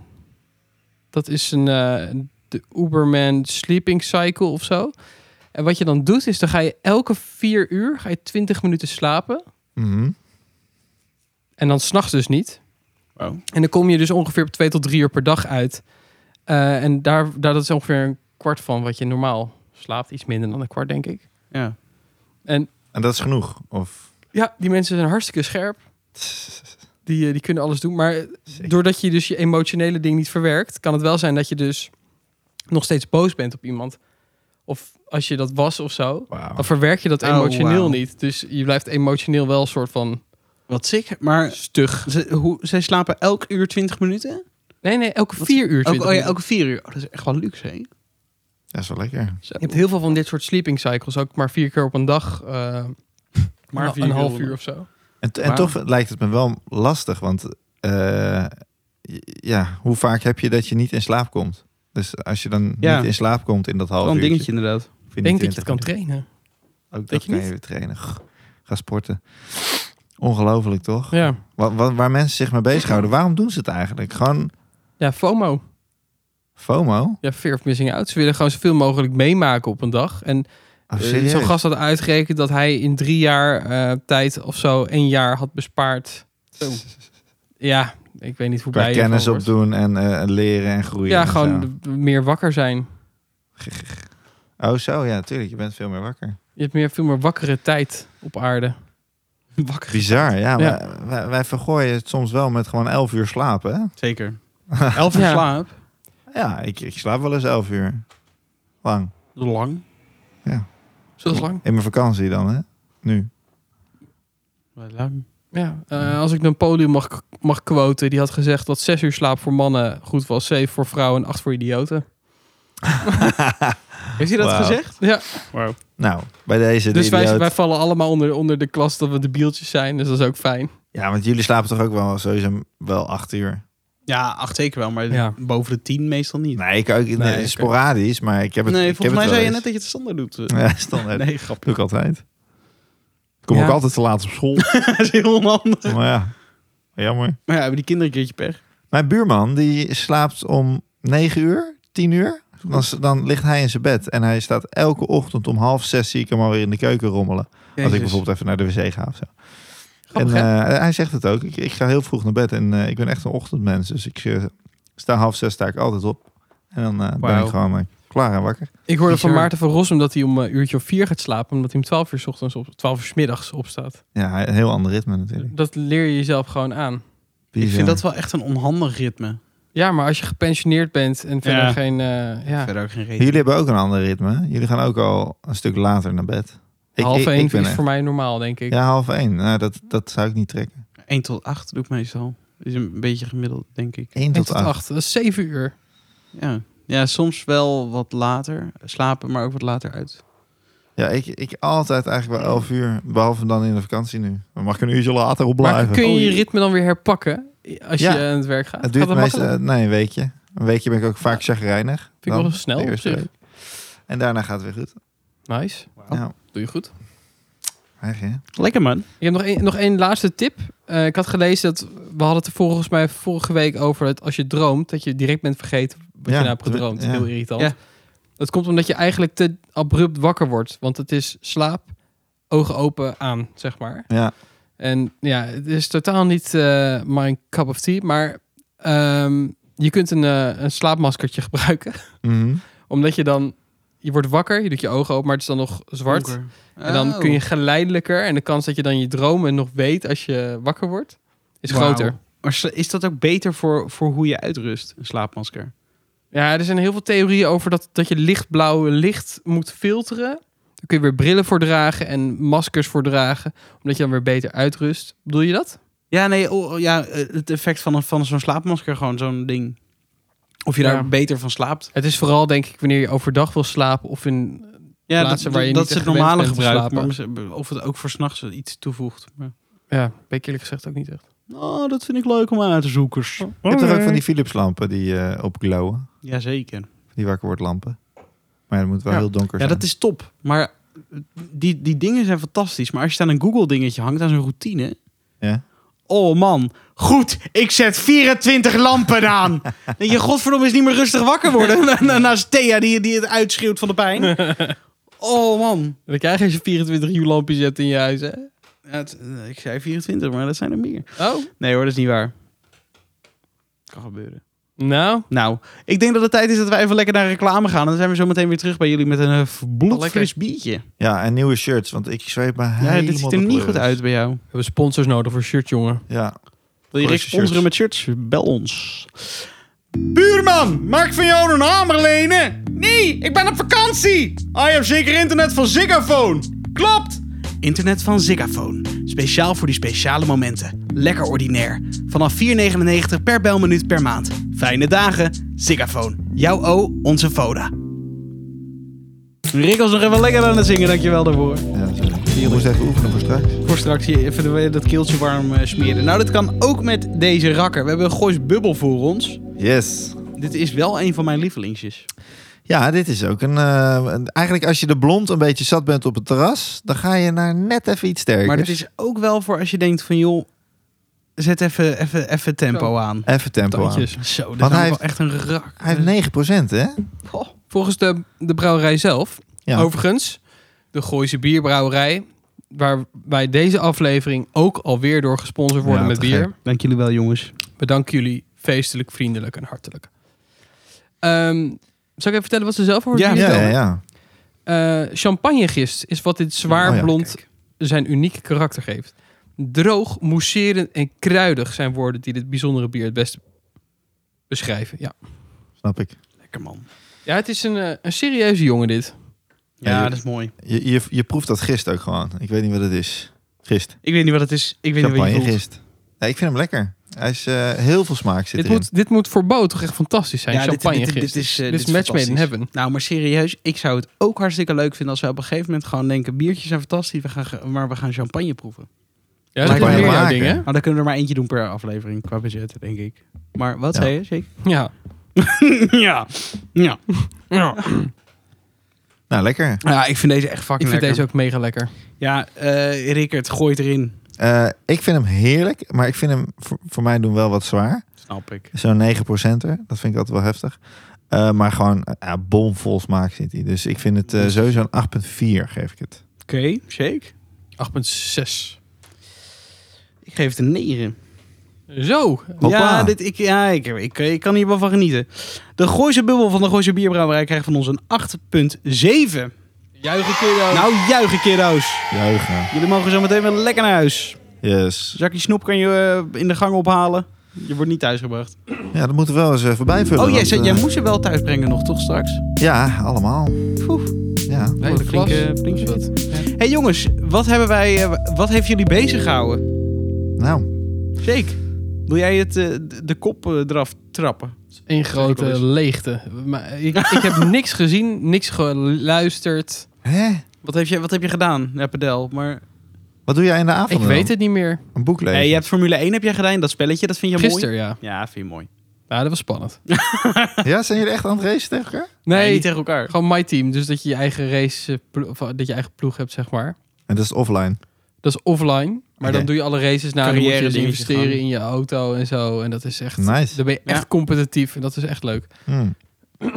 Dat is een, eh, de Uberman Sleeping Cycle of zo. En wat je dan doet is, dan ga je elke vier uur ga je 20 minuten slapen.
Mhm.
En dan s'nachts dus niet.
Wow.
En dan kom je dus ongeveer op twee tot drie uur per dag uit. Eh, en daar, daar dat is ongeveer een kwart van wat je normaal slaapt. Iets minder dan een kwart, denk ik.
Ja.
En dat is genoeg? Of...
Ja, die mensen zijn hartstikke scherp. Die, eh, die kunnen alles doen. Maar eh,
Zeker.
doordat je dus je emotionele ding niet verwerkt, kan het wel zijn dat je dus nog steeds boos bent op iemand. Of als je dat was of zo,
Wauw.
dan verwerk je dat
Oh,
emotioneel
wauw.
niet. Dus je blijft emotioneel wel een soort van
Wat sick, maar
stug.
ze, hoe, zij slapen elk uur 20 minuten?
Nee, nee, elke
Wat-
vier uur.
Elk,
20
oh ja,
minuten.
elke vier uur. Oh, dat is echt wel luxe, hè?
Dat is wel lekker.
Zo.
Je hebt heel veel van dit soort sleeping cycles. Ook maar vier keer op een dag. eh,
Maar
een-
vier
een
uur
half
op-
uur of zo.
En, t- en
Wauw.
toch lijkt het me wel lastig, want eh, j- ja, hoe vaak heb je dat je niet in slaap komt? Dus als je dan
Ja.
niet in slaap komt in dat half
Wel
uur.
een dingetje, inderdaad.
Ik denk dat je het kan trainen.
Ook
Denk
dat
je
kan
niet?
je weer trainen. Goh, Ga sporten. Ongelooflijk toch?
Ja.
Wa- wa- waar mensen zich mee bezighouden. Waarom doen ze het eigenlijk? Gewoon
ja, FOMO.
FOMO?
Ja, fear of missing out. Ze willen gewoon zoveel mogelijk meemaken op een dag. En
Of
eh,
Oh, serieus?
zo'n gast had uitgerekend dat hij in drie jaar eh, tijd of zo één jaar had bespaard. Ja, ik weet niet hoe
Qua
bij je
kennis
van wordt.
opdoen en eh, leren en groeien.
Ja,
en
gewoon
zo.
d- meer wakker zijn.
Oh zo, ja, tuurlijk. Je bent veel meer wakker.
Je hebt meer, veel meer wakkere tijd op aarde.
Wakker.
Bizar, ja.
Ja.
maar Wij, wij vergooien het soms wel met gewoon elf uur slapen. Hè?
Zeker. Elf uur
Ja.
slaap.
Ja, ik, ik slaap wel eens elf uur. Lang.
Dat is Lang.
Zo lang.
In mijn vakantie dan, hè? Nu.
Wel Lang.
Ja, eh, als ik een podium mag, mag quoten, die had gezegd dat zes uur slaap voor mannen goed was, zeven voor vrouwen en acht voor idioten.
Heeft hij dat
Wauw.
gezegd?
Ja,
Wow.
Nou, bij deze de
dus wij,
idioot.
wij vallen allemaal onder, onder de klas dat we de bieltjes zijn, dus dat is ook fijn.
Ja, want jullie slapen toch ook wel sowieso wel acht uur?
Ja, acht zeker wel, maar
Ja.
boven de tien meestal niet.
Nee, ik ook nee,
oké.
sporadisch, maar ik heb het
nee,
ik heb
volgens mij
het
zei je
wel
net dat je het standaard doet. eh.
eens. Ja, standaard.
Nee, grappig.
Doe ik altijd. Ik kom
Ja.
ook altijd te laat op school.
Dat is heel onhandig.
maar ja, jammer.
Maar ja, hebben die kinderen een keertje pech.
Mijn buurman, die slaapt om negen uur, tien uur. Dan, s- dan ligt hij in zijn bed en hij staat elke ochtend om half zes zie ik hem alweer in de keuken rommelen. Als ik bijvoorbeeld even naar de wc ga of zo. En
Grappig, hè?
eh, hij zegt het ook. Ik, ik ga heel vroeg naar bed en eh, ik ben echt een ochtendmens. Dus ik eh, sta half zes sta ik altijd op. En dan eh, ben
Wauw.
ik gewoon eh, klaar en wakker.
ik hoorde van
bizar.
Maarten van Rossum dat hij om een uurtje of vier gaat slapen, omdat hij om twaalf uur 's ochtends op, twaalf uur 's middags opstaat.
Ja, een heel ander ritme natuurlijk.
Dat leer je jezelf gewoon aan.
Ik
Bizar.
vind dat wel echt een onhandig ritme.
Ja, maar als je gepensioneerd bent en verder
Ja.
geen... eh, ja.
Verder ook geen reden.
Jullie hebben ook een ander ritme. hè? Jullie gaan ook al een stuk later naar bed. Ik,
Half
ik-
één
ik ben
is
echt-
voor mij normaal, denk ik.
Ja, half één. Nou, dat, dat zou ik niet trekken.
1 tot 8 doe ik meestal. Is een beetje gemiddeld, denk ik.
Eén
Eén
tot acht.
Dat is zeven uur.
Ja. ja, soms wel wat later slapen, maar ook wat later uit.
Ja, ik, ik altijd eigenlijk wel elf uur. Behalve dan in de vakantie nu. Dan mag ik een uurtje later op
Maar
blijven.
kun je je
Oei.
ritme dan weer herpakken als je
Ja.
aan het werk gaat?
Het duurt
gaat
meestal
makkelijk?
nee, een weekje. Een weekje ben ik ook vaak chagrijnig.
Vind ik
Dan
wel snel
de
op
eerste
zich.
week. En daarna gaat het weer goed. eh,
Nice.
Oh.
Ja,
Doe je goed.
echt, hè?
Lekker man.
Ik heb nog één, nog één laatste tip. Eh, ik had gelezen dat we hadden het er volgens mij vorige week over dat als je droomt, dat je direct bent vergeten wat
Ja,
je nou hebt
terwijl-
gedroomd.
ja.
Heel irritant.
Ja.
Dat komt omdat je eigenlijk te abrupt wakker wordt. Want het is slaap, ogen open aan, zeg maar.
Ja.
En ja, het is totaal niet eh, mijn cup of tea. Maar ehm, je kunt een, eh, een slaapmaskertje gebruiken.
Mhm.
Omdat je dan... Je wordt wakker, je doet je ogen open, maar het is dan nog zwart.
Donker.
En dan
Oh.
kun je geleidelijker... en de kans dat je dan je dromen nog weet als je wakker wordt... is
Wauw.
groter.
Maar sla- is dat ook beter voor, voor hoe je uitrust, een slaapmasker?
Ja, er zijn heel veel theorieën over dat, dat je lichtblauwe licht moet filteren. Er Daar kun je weer brillen voor dragen en maskers voor dragen. Omdat je dan weer beter uitrust. Bedoel je dat?
Ja, nee, oh, oh, ja, eh, het effect van, een- van zo'n slaapmasker, gewoon zo'n ding. Of je daar
Ja.
beter van slaapt.
Het is vooral denk ik wanneer je overdag wil slapen of in...
Ja,
Plaatsen
dat,
waar je
dat
niet
is het
echt gewend
normale
bent te
gebruik.
slapen.
Maar misschien- of het ook voor s'nachts iets toevoegt. Maar...
Ja, weet ik eerlijk gezegd ook niet echt.
Oh, dat vind ik leuk om uit te zoeken.
Je hebt toch ook van die Philips lampen die eh, opglowen?
Jazeker.
Die wakker wordt lampen. Maar ja, dat moet wel
Ja.
heel donker
Ja,
zijn.
dat is top. Maar eh, die, die dingen zijn fantastisch. Maar als je het aan een Google dingetje hangt, aan zo'n routine.
Ja.
Oh man, goed, ik zet 24 lampen aan. En je godverdomme is niet meer rustig wakker worden. Na- na- Naast Thea die, die het uitschreeuwt van de pijn. Oh man.
Dan krijg je als je 24 uur lampjes hebt in je huis, hè?
Ja, het- eh, ik zei 24, maar dat zijn er meer.
Oh,
Nee hoor, dat is niet waar. Kan gebeuren.
nou.
Nou, ik denk dat het tijd is dat wij even lekker naar reclame gaan. En dan zijn we zo meteen weer terug bij jullie met een eh, bloedfris biertje.
Ja, en nieuwe shirts, want ik zweep me
Ja,
helemaal
dit ziet er
de
niet
pleuris.
goed uit bij jou.
We hebben sponsors nodig voor shirt, jongen.
Ja,
Wil je
Korte
Rick sponsoren
shirts.
met shirts? Bel ons. Buurman, maak van jou een hamer lenen. Nee, ik ben op vakantie. Ah, je hebt zeker internet van Ziggaphone. Klopt. Internet van Ziggaphone. Speciaal voor die speciale momenten. Lekker ordinair. Vanaf 4,99 per belminuut per maand. Fijne dagen. Ziggaphone. Jouw O, onze Voda. Rick was nog even lekker aan het zingen. Dankjewel daarvoor.
ja sorry. je moest even oefenen voor straks.
Voor straks hier even dat keeltje warm eh, smeren. Nou, dat kan ook met deze rakker. We hebben een Goois Bubbel voor ons.
Yes.
Dit is wel een van mijn lievelingsjes.
Ja, dit is ook een, eh, een- Eigenlijk als je de blond een beetje zat bent op het terras... dan ga je naar net even iets sterker.
Maar dit is ook wel voor als je denkt van... joh, zet even, even, even tempo aan.
Even tempo aan.
Tandjes.
Zo, dat is
Want hij
namelijk wel
heeft-
echt een rak.
Hij heeft 9 hè?
Oh,
Volgens de, de brouwerij zelf,
Ja.
overigens, de Gooise Bierbrouwerij, waar wij deze aflevering ook alweer door gesponsord worden
Ja,
met
te
bier.
gek.
Dank jullie wel, jongens.
Bedanken jullie feestelijk, vriendelijk en hartelijk. Ehm, zal ik even vertellen wat ze zelf over het
Ja,
bier
Ja, ja,
vertellen?
ja.
Eh, champagnegist is wat dit zwaar
Oh ja,
blond zijn unieke karakter geeft. Droog, mousserend en kruidig zijn woorden die dit bijzondere bier het beste beschrijven. Ja,
Snap ik.
Lekker man.
ja het is een, eh, een serieuze jongen dit.
Ja,
Hey,
dat is mooi.
Je, je, je proeft dat gist ook gewoon. Ik weet niet wat het is. Gist.
Ik weet niet wat het is. Ik weet niet
Champagne
wat je voelt.
gist. Nee, ik vind hem lekker. Hij is eh, heel veel smaak zit
Dit
erin.
moet, dit moet voor Bo toch echt fantastisch zijn.
Ja, dit- dit-
champagnegist.
dit- dit is, eh,
dit
dit
is
is
match made in
fantastisch.
heaven.
Nou, maar serieus, ik zou het ook hartstikke leuk vinden als we op een gegeven moment gewoon denken... biertjes zijn fantastisch, we gaan, ge- maar we gaan champagne proeven.
Ja, dat
Lijkt
is
me
meer jouw
maken.
ding, hè?
Nou, dan kunnen we er maar eentje doen per aflevering qua budget, denk ik. Maar wat
Ja.
zei je, Jake?
Ja.
ja. ja.
Nou, lekker.
Ja, ik vind deze echt
Ik
fucking
vind deze
lekker.
ook mega lekker.
Ja, eh Rickert, gooi het erin.
Eh, ik vind hem heerlijk, maar ik vind hem voor, voor mij doen wel wat zwaar.
Snap ik.
Zo'n 9 er, dat vind ik altijd wel heftig. Eh, maar gewoon eh, ja, bomvol smaak zit hij. Dus ik vind het eh, sowieso een 8,4 geef ik het.
Oké, shake.
8,6.
Ik geef het een 9.
Zo.
Hoppa.
Ja, dit, ik, ja ik, ik, ik kan hier wel van genieten. De Gooise bubbel van de Gooise bierbrouwerij krijgt van ons een 8.7.
Juich een keer dan.
Nou, juichen kiddo's.
Juichen.
Jullie mogen zo meteen weer lekker naar huis.
Yes.
Zakje snoep kan je eh, in de gang ophalen. Je wordt niet thuisgebracht.
Ja, dat moeten we wel eens eh, voorbij vullen.
Oh, jij,
want,
zei-
eh,
jij moest ze wel thuis brengen nog, toch straks?
Ja, allemaal.
Poef.
Ja.
Nee,
Wat een
klas.
flinke- flinke
Dat is wat.
Hé hey jongens, wat, hebben wij, eh, wat heeft jullie bezig gehouden?
Nou,
Jake, wil jij het, eh, de- de kop eh, eraf trappen?
Een
Zeg ik
grote
wel
leegte. Maar ik, ik heb niks gezien, niks geluisterd.
hè?
Wat heb je, wat heb je gedaan, ja, Padel? Maar,
Wat doe jij in de avond
Ik
dan?
weet het niet meer.
Een boek lezen.
Hey, je hebt Formule 1 heb jij gedaan, dat spelletje, dat vind je
Gisteren, ja.
mooi? Ja, vind je mooi.
Ja, dat was spannend.
Ja, zijn jullie echt aan het racen tegen elkaar?
Nee,
Nee,
niet tegen elkaar.
gewoon my team. Dus dat je je eigen race, eh, plo- of, eh, dat je eigen ploeg hebt, zeg maar.
En dat is offline.
Dat is offline. Maar
Oké.
dan doe je alle races na. Dan moet je
Carrière
dus
dingetjes
investeren
gewoon.
in je auto en zo. En dat is echt...
Nice.
Dan ben je
Ja.
echt competitief. En dat is echt leuk.
Hm.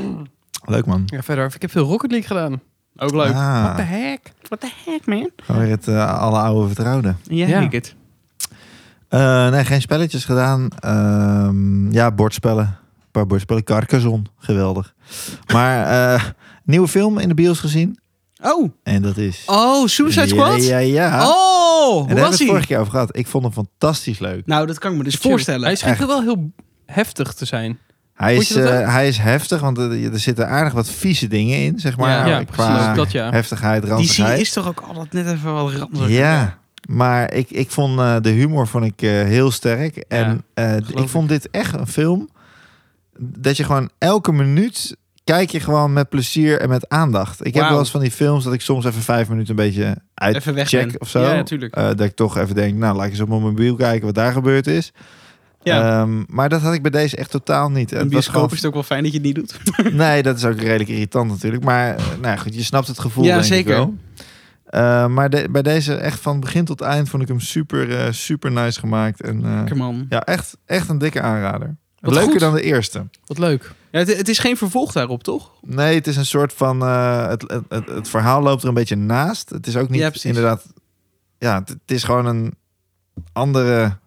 Leuk man.
Ja, verder. Ik heb veel Rocket League gedaan.
Ook leuk.
What the
Ah,
heck?
What the heck, man?
gewoon weer het eh, alle oude vertrouwde.
Ja,
Ja.
ik het.
Eh, nee, geen spelletjes gedaan. Ehm, ja, bordspellen. Een paar bordspellen. Carcassonne, geweldig. Maar eh, nieuwe film in de bios gezien.
Oh,
En dat is...
oh, Suicide Squad?
Ja, ja,
Oh,
ja. en
hoe
daar hebben we
was
het
hij?
vorige keer over gehad. Ik vond hem fantastisch leuk.
Nou, dat kan ik me dus
Chill.
voorstellen.
Hij schijnt
Echt.
wel heel heftig te zijn.
Hij
Vond
is,
je dat
eh,
ook?
hij is heftig, want er, er zitten aardig wat vieze dingen in, zeg maar.
Ja, ja,
qua
precies. Dat ja.
heftigheid,
Die serie
ranzigheid.
is toch ook altijd net even wat ranzig.
Ja, maar ik, ik vond eh, de humor vond ik, eh, heel sterk. En eh, d-
geloof
ik vond dit echt een film dat je gewoon elke minuut kijk je gewoon met plezier en met aandacht. Ik heb
Wauw.
wel eens van die films dat ik soms even vijf minuten een beetje
Even weg
uitcheck
ben.
of zo.
Ja, natuurlijk.
Eh, dat ik toch even denk, nou laat ik eens op mijn mobiel kijken wat daar gebeurd is.
Ja.
Ehm, maar dat had ik bij deze echt totaal niet.
In
Het was
bioscoop
gewoon,
is het ook wel fijn dat je het niet doet.
nee, dat is ook redelijk irritant natuurlijk. Maar eh, nou ja, goed, je snapt het gevoel
Ja,
denk ik
zeker.
wel. Eh, maar de- bij deze echt van begin tot eind vond ik hem super, eh, super nice gemaakt. En, eh,
Lekker man.
ja, echt, echt een dikke aanrader.
Wat
Leuker
goed.
dan de eerste.
Wat leuk.
Ja, het, het is geen vervolg daarop, toch?
Nee, het is een soort van... eh, het, het, het, het verhaal loopt er een beetje naast. Het is ook
Ja,
niet
precies.
inderdaad... Ja, het, het is gewoon een andere,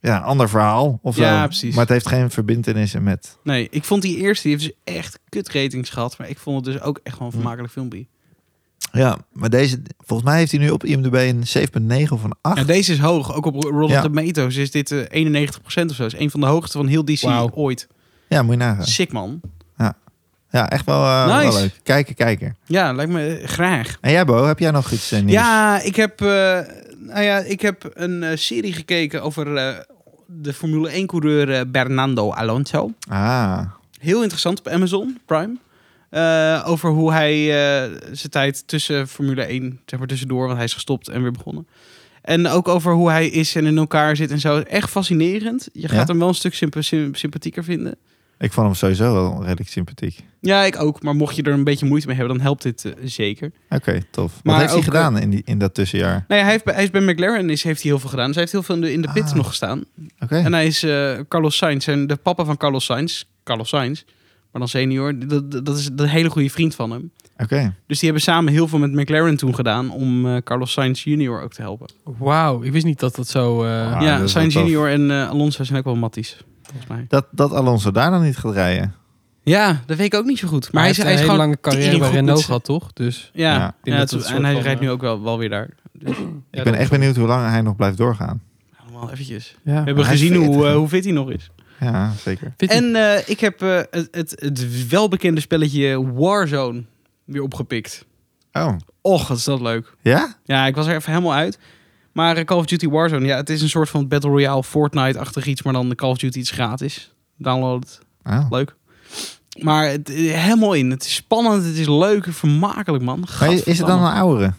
ja, ander verhaal of
Ja,
zo.
precies.
Maar het heeft geen verbindenissen met...
Nee, ik vond die eerste, die heeft dus echt kut ratings gehad. Maar ik vond het dus ook echt
Hm.
gewoon een vermakelijk filmpje.
Ja, maar deze... Volgens mij heeft hij nu op IMDb een 7,9 van 8.
Ja, deze is hoog. Ook op Rotten
Ja.
Tomatoes is dit eh, 91% of zo. Is een van de hoogste van heel DC
Wauw.
ooit.
Ja, moet je nagaan.
Sick man.
Ja, echt wel, eh, wel
Nice.
leuk. Kijken, kijken.
Ja, lijkt me eh, graag.
En jij, Bo, heb jij nog iets eh, nieuws?
Ja, ik heb, eh, nou ja, ik heb een eh, serie gekeken over eh, de Formule 1-coureur Bernardo Alonso.
Ah,
Heel interessant op Amazon Prime. Eh, over hoe hij eh, zijn tijd tussen Formule 1, zeg maar tussendoor, want hij is gestopt en weer begonnen. En ook over hoe hij is en in elkaar zit en zo. Echt fascinerend. Je gaat
Ja?
hem wel een stuk sympa- sym- sympathieker vinden.
ik vond hem sowieso wel redelijk sympathiek.
Ja, ik ook. Maar mocht je er een beetje moeite mee hebben, dan helpt dit eh, zeker.
Oké, tof. Wat
Maar
heeft hij
ook, eh,
gedaan in, die, in dat tussenjaar?
Nee, hij, heeft, bij- hij is bij McLaren is, heeft hij heel veel gedaan. Dus hij heeft heel veel in de, in de pit
Ah.
nog gestaan.
Oké.
En hij is eh, Carlos Sainz. En de papa van Carlos Sainz, Carlos Sainz, maar dan senior, dat, dat- dat is een hele goede vriend van hem.
Oké.
Dus die hebben samen heel veel met McLaren toen gedaan om eh, Carlos Sainz junior ook te helpen.
Wauw, ik wist niet dat dat zo... eh,
Ah, dat
ja,
is
Sainz
wel tof.
junior en eh, Alonso zijn ook wel matties, volgens mij.
Dat, dat Alonso daar dan niet gaat rijden.
Ja, dat weet ik ook niet zo goed. Maar hij, is,
heeft
hij is
een hele
gewoon...
lange carrière
teringgoed
bij
met
Renault
z'n-
gehad, toch? Dus
Ja,
Ja,
ja,
ik
denk dat
het-
het een
en hij
soort van,
rijdt nu
eh,
ook wel, wel weer daar. Dus,
ik ben echt benieuwd hoe lang hij nog blijft doorgaan.
Allemaal eventjes. We
ja.
hebben
hij is
gezien
fit,
hoe,
hè?
eh, hoe fit hij nog is.
Ja, zeker.
Vind je-
En eh, ik heb eh, het, het, het welbekende spelletje Warzone weer opgepikt.
Oh,
Och, wat is dat leuk.
ja?
Ja, ik was er even helemaal uit. Maar eh, Call of Duty Warzone, ja, het is een soort van Battle Royale, Fortnite-achtig iets, maar dan de Call of Duty iets gratis. Download het.
Oh.
Leuk. Maar het, eh, helemaal in. Het is spannend, het is leuk, vermakelijk, man.
Maar is het dan
Gadverdamme.
een oudere?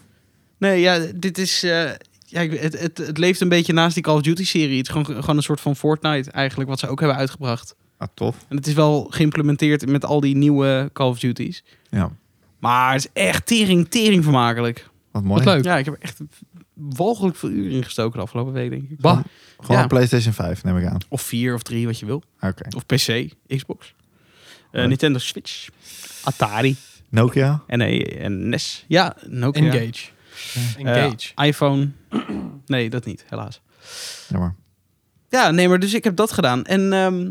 Nee, ja, dit is... eh, ja, ik- het, het, het leeft een beetje naast die Call of Duty-serie. Het is gewoon, gewoon een soort van Fortnite eigenlijk, wat ze ook hebben uitgebracht.
Ah, tof.
En het is wel geïmplementeerd met al die nieuwe Call of Duties.
Ja,
Maar het is echt tering, tering vermakelijk.
wat mooi.
wat leuk.
Ja, ik heb er echt walgelijk veel uren in gestoken de afgelopen week, denk ik.
Bah,
Gewoon
Ja.
een PlayStation 5 neem ik aan.
Of vier of drie, wat je wil.
Oké.
Of PC, Xbox. Eh,
Leuk.
Nintendo Switch. Atari.
Nokia?
En, eh, en NES. Ja, Nokia.
engage. Engage.
Eh, iPhone. Nee, dat niet, helaas.
Jammer.
Ja, nee, maar dus ik heb dat gedaan. En ehm,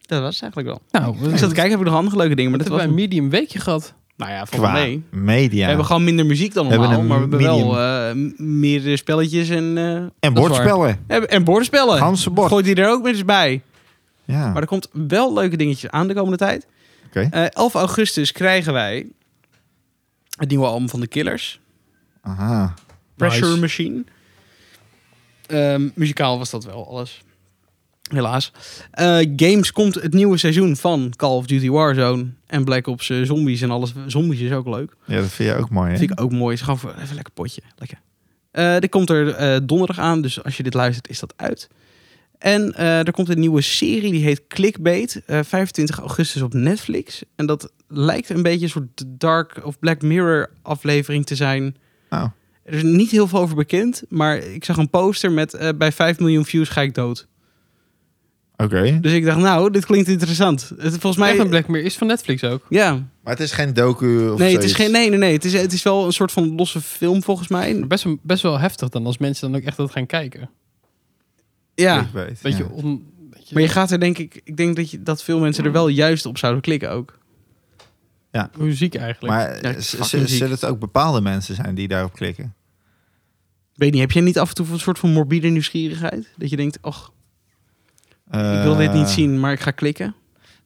dat was het eigenlijk wel.
nou, we
Ik zat te
hebben
kijken, heb ik nog andere leuke dingen. Maar dat was...
een medium weekje gehad.
Nou ja, volgens
Qua
mij.
media.
We hebben gewoon minder muziek dan
We hebben
normaal,
een
maar we hebben
medium.
wel eh, m- meer eh, spelletjes en, eh
en
dat is
bordspellen.
en- en bordspellen.
Ganse bord.
Gooit hij er ook met eens bij.
Ja,
Maar er komt wel leuke dingetjes aan de komende tijd.
Oké.
Eh, 11 augustus krijgen wij het nieuwe album van de Killers.
aha.
Pressure
Nice.
Machine. Ehm, muzikaal was dat wel alles. Helaas. Eh, games komt het nieuwe seizoen van Call of Duty Warzone en Black Ops eh, Zombies en alles. Zombies is ook leuk.
Ja, dat vind jij ook mooi, hè?
Vind ik ook mooi. Is gewoon voor even een lekker potje. Lekker. Eh dit komt er eh, donderdag aan, dus als je dit luistert, is dat uit. En eh, er komt een nieuwe serie, die heet Clickbait. eh, 25 augustus op Netflix. En dat lijkt een beetje een soort Dark of Black Mirror aflevering te zijn.
Oh.
Er is niet heel veel over bekend, maar ik zag een poster met eh, bij 5 miljoen views ga ik dood.
Oké.
Dus ik dacht, nou, dit klinkt interessant. Het, volgens mij...
Echt een Black Mirror is van Netflix ook.
Ja.
Maar het is geen docu of
Nee, het is
zoiets.
geen, nee, nee, nee. Het is, het is wel een soort van losse film volgens mij.
Maar Best, wel- best wel heftig dan als mensen dan ook echt dat gaan kijken.
Ja.
Ik weet,
Weet
ja.
je, on, weet je-
Maar je gaat er denk ik, ik denk dat, je, dat veel mensen er wel juist op zouden klikken ook.
muziek eigenlijk.
Maar
Ja,
z- z-
fucking ziek.
zullen het ook bepaalde mensen zijn die daarop klikken?
Weet niet, heb jij niet af en toe een soort van morbide nieuwsgierigheid? Dat je denkt, och, ik wil dit niet
Eh,
zien, maar ik ga klikken.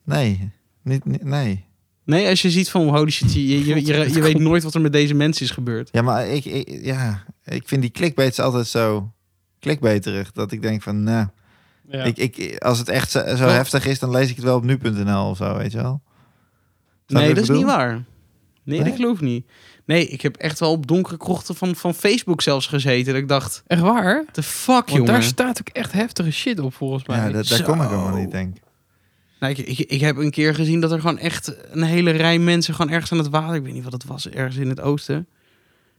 Nee. Niet, niet- nee.
Nee, als je ziet van holy shit, je, je, je, je, je weet nooit wat er met deze mensen is gebeurd.
Ja, maar ik, ik, ja, ik vind die clickbaits altijd zo clickbaiterig. Dat ik denk van, nou,
Ja.
ik, ik, als het echt zo, zo
Ja.
heftig is, dan lees ik het wel op nu.nl of zo, weet je wel. Snap je
Nee,
wat
dat
ik
is niet
bedoel?
waar. Nee,
Nee?
dat geloof ik niet. Nee, ik heb echt wel op donkere krochten van, van Facebook zelfs gezeten. Dat ik dacht,
Echt waar?
the fuck,
Want
jongen.
daar staat ook echt heftige shit op volgens mij.
Ja, dat, daar kom ik allemaal
Zo.
niet, denk ik.
Nou, ik, ik, ik heb een keer gezien dat er gewoon echt een hele rij mensen gewoon ergens aan het water. Ik weet niet wat het was, ergens in het oosten.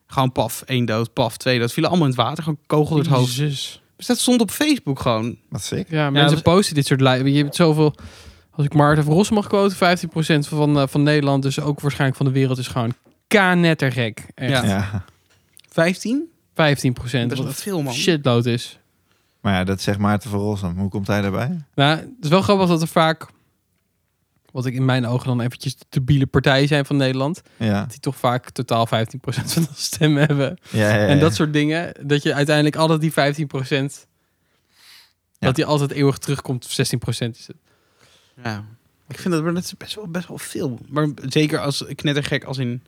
Gewoon paf, één dood, paf, twee dood. Vielen allemaal in het water, gewoon kogel door het hoofd.
Jezus.
Dus dat stond op Facebook gewoon.
Wat sick.
Ja, mensen
dat-
posten dit soort lijpen. Je hebt zoveel... Als ik Maarten van Rossum mag quoten, 15% van, eh, van Nederland, dus ook waarschijnlijk van de wereld, is gewoon k-nettergek.
Ja.
Echt.
Ja.
15?
15%.
Dat is
wat
wel veel, man.
shitload is.
Maar ja, dat zegt Maarten van Rossum. Hoe komt hij daarbij?
Nou, het is wel grappig dat er vaak, wat ik in mijn ogen dan eventjes de biele partijen zijn van Nederland,
Ja.
die toch vaak totaal 15% van de stemmen hebben.
ja, ja, ja.
En dat
Eh.
soort dingen, dat je uiteindelijk altijd die 15%,
Ja.
dat die altijd eeuwig terugkomt, 16% is het.
Ja. Ik vind dat, maar dat is best wel, best wel veel. Maar zeker als knettergek, als in...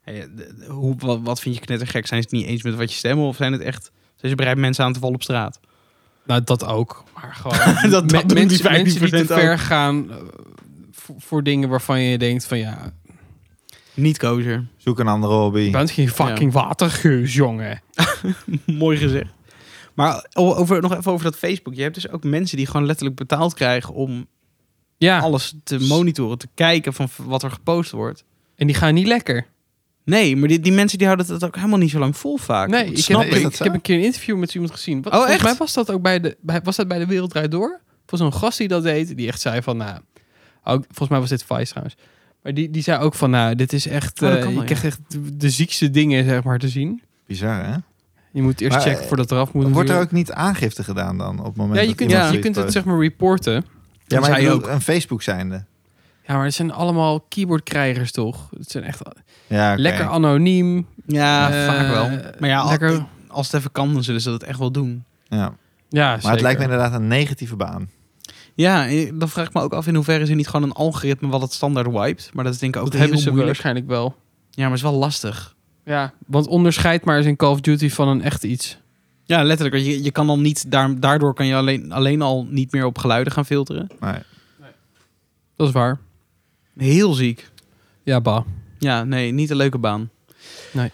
Hey, eh, de- de- hoe, wat, wat vind je knettergek? Zijn ze het niet eens met wat je stemmen? Of zijn het echt... Zijn ze bereid mensen aan te vallen op straat?
Nou, dat ook. Maar gewoon,
dat doen die
mensen, mensen die te
15% ook.
ver gaan eh, voor, voor dingen waarvan je denkt van ja,
Niet kozer.
Zoek een andere hobby.
je bent geen fucking watergeus, jongen.
Mooi gezegd. Maar o- over, nog even over dat Facebook. Je hebt dus ook mensen die gewoon letterlijk betaald krijgen om
Ja,
alles te monitoren, te kijken van v- wat er gepost wordt.
en die gaan niet lekker.
Nee, maar die, die mensen die houden dat ook helemaal niet zo lang vol vaak.
Nee, ik
snap
heb,
ik. Is
ik,
dat
ik
zo?
heb een keer een interview met iemand gezien. Wat,
Oh,
volgens
echt?
mij was dat ook bij de, bij, was dat bij de Wereld Draait Door. Voor zo'n gast die dat deed, die echt zei van, nou, ook, volgens mij was dit Vice trouwens. Maar die, die zei ook van, nou, dit is echt,
Oh, dat
eh,
kan wel,
je krijgt echt de, de ziekste dingen, zeg maar, te zien.
Bizar, hè?
Je moet eerst
Maar,
checken
eh,
voordat het eraf moet.
Wordt er
natuurlijk.
ook niet aangifte gedaan dan? Op het moment
Ja, je
dat
kunt,
iemand
je
zoiets
kunt het
post?
zeg maar reporten.
Ja, maar
Zij
ik bedoel,
ook.
een Facebook zijnde.
Ja, maar het zijn allemaal keyboardkrijgers, toch? Het zijn echt
Ja, oké.
lekker anoniem.
Ja,
Eh,
vaak wel. Maar ja, al-
lekker-
als het even kan, dan zullen ze dat echt wel doen.
Ja.
Ja,
Maar het lijkt me inderdaad een negatieve baan.
Ja, eh, dan vraag ik me ook af in hoeverre is er niet gewoon een algoritme wat het standaard wiped. Maar dat is denk ik ook
dat hebben
heel
ze
moeilijk.
waarschijnlijk wel.
Ja, maar het is wel lastig.
Ja, want onderscheid maar eens een Call of Duty van een echt iets.
Ja, letterlijk. want Je, je kan dan niet, daar- daardoor kan je alleen, alleen al niet meer op geluiden gaan filteren.
Nee.
Dat is waar.
Heel ziek.
Ja, ba.
Ja, nee, niet een leuke baan.
Nee.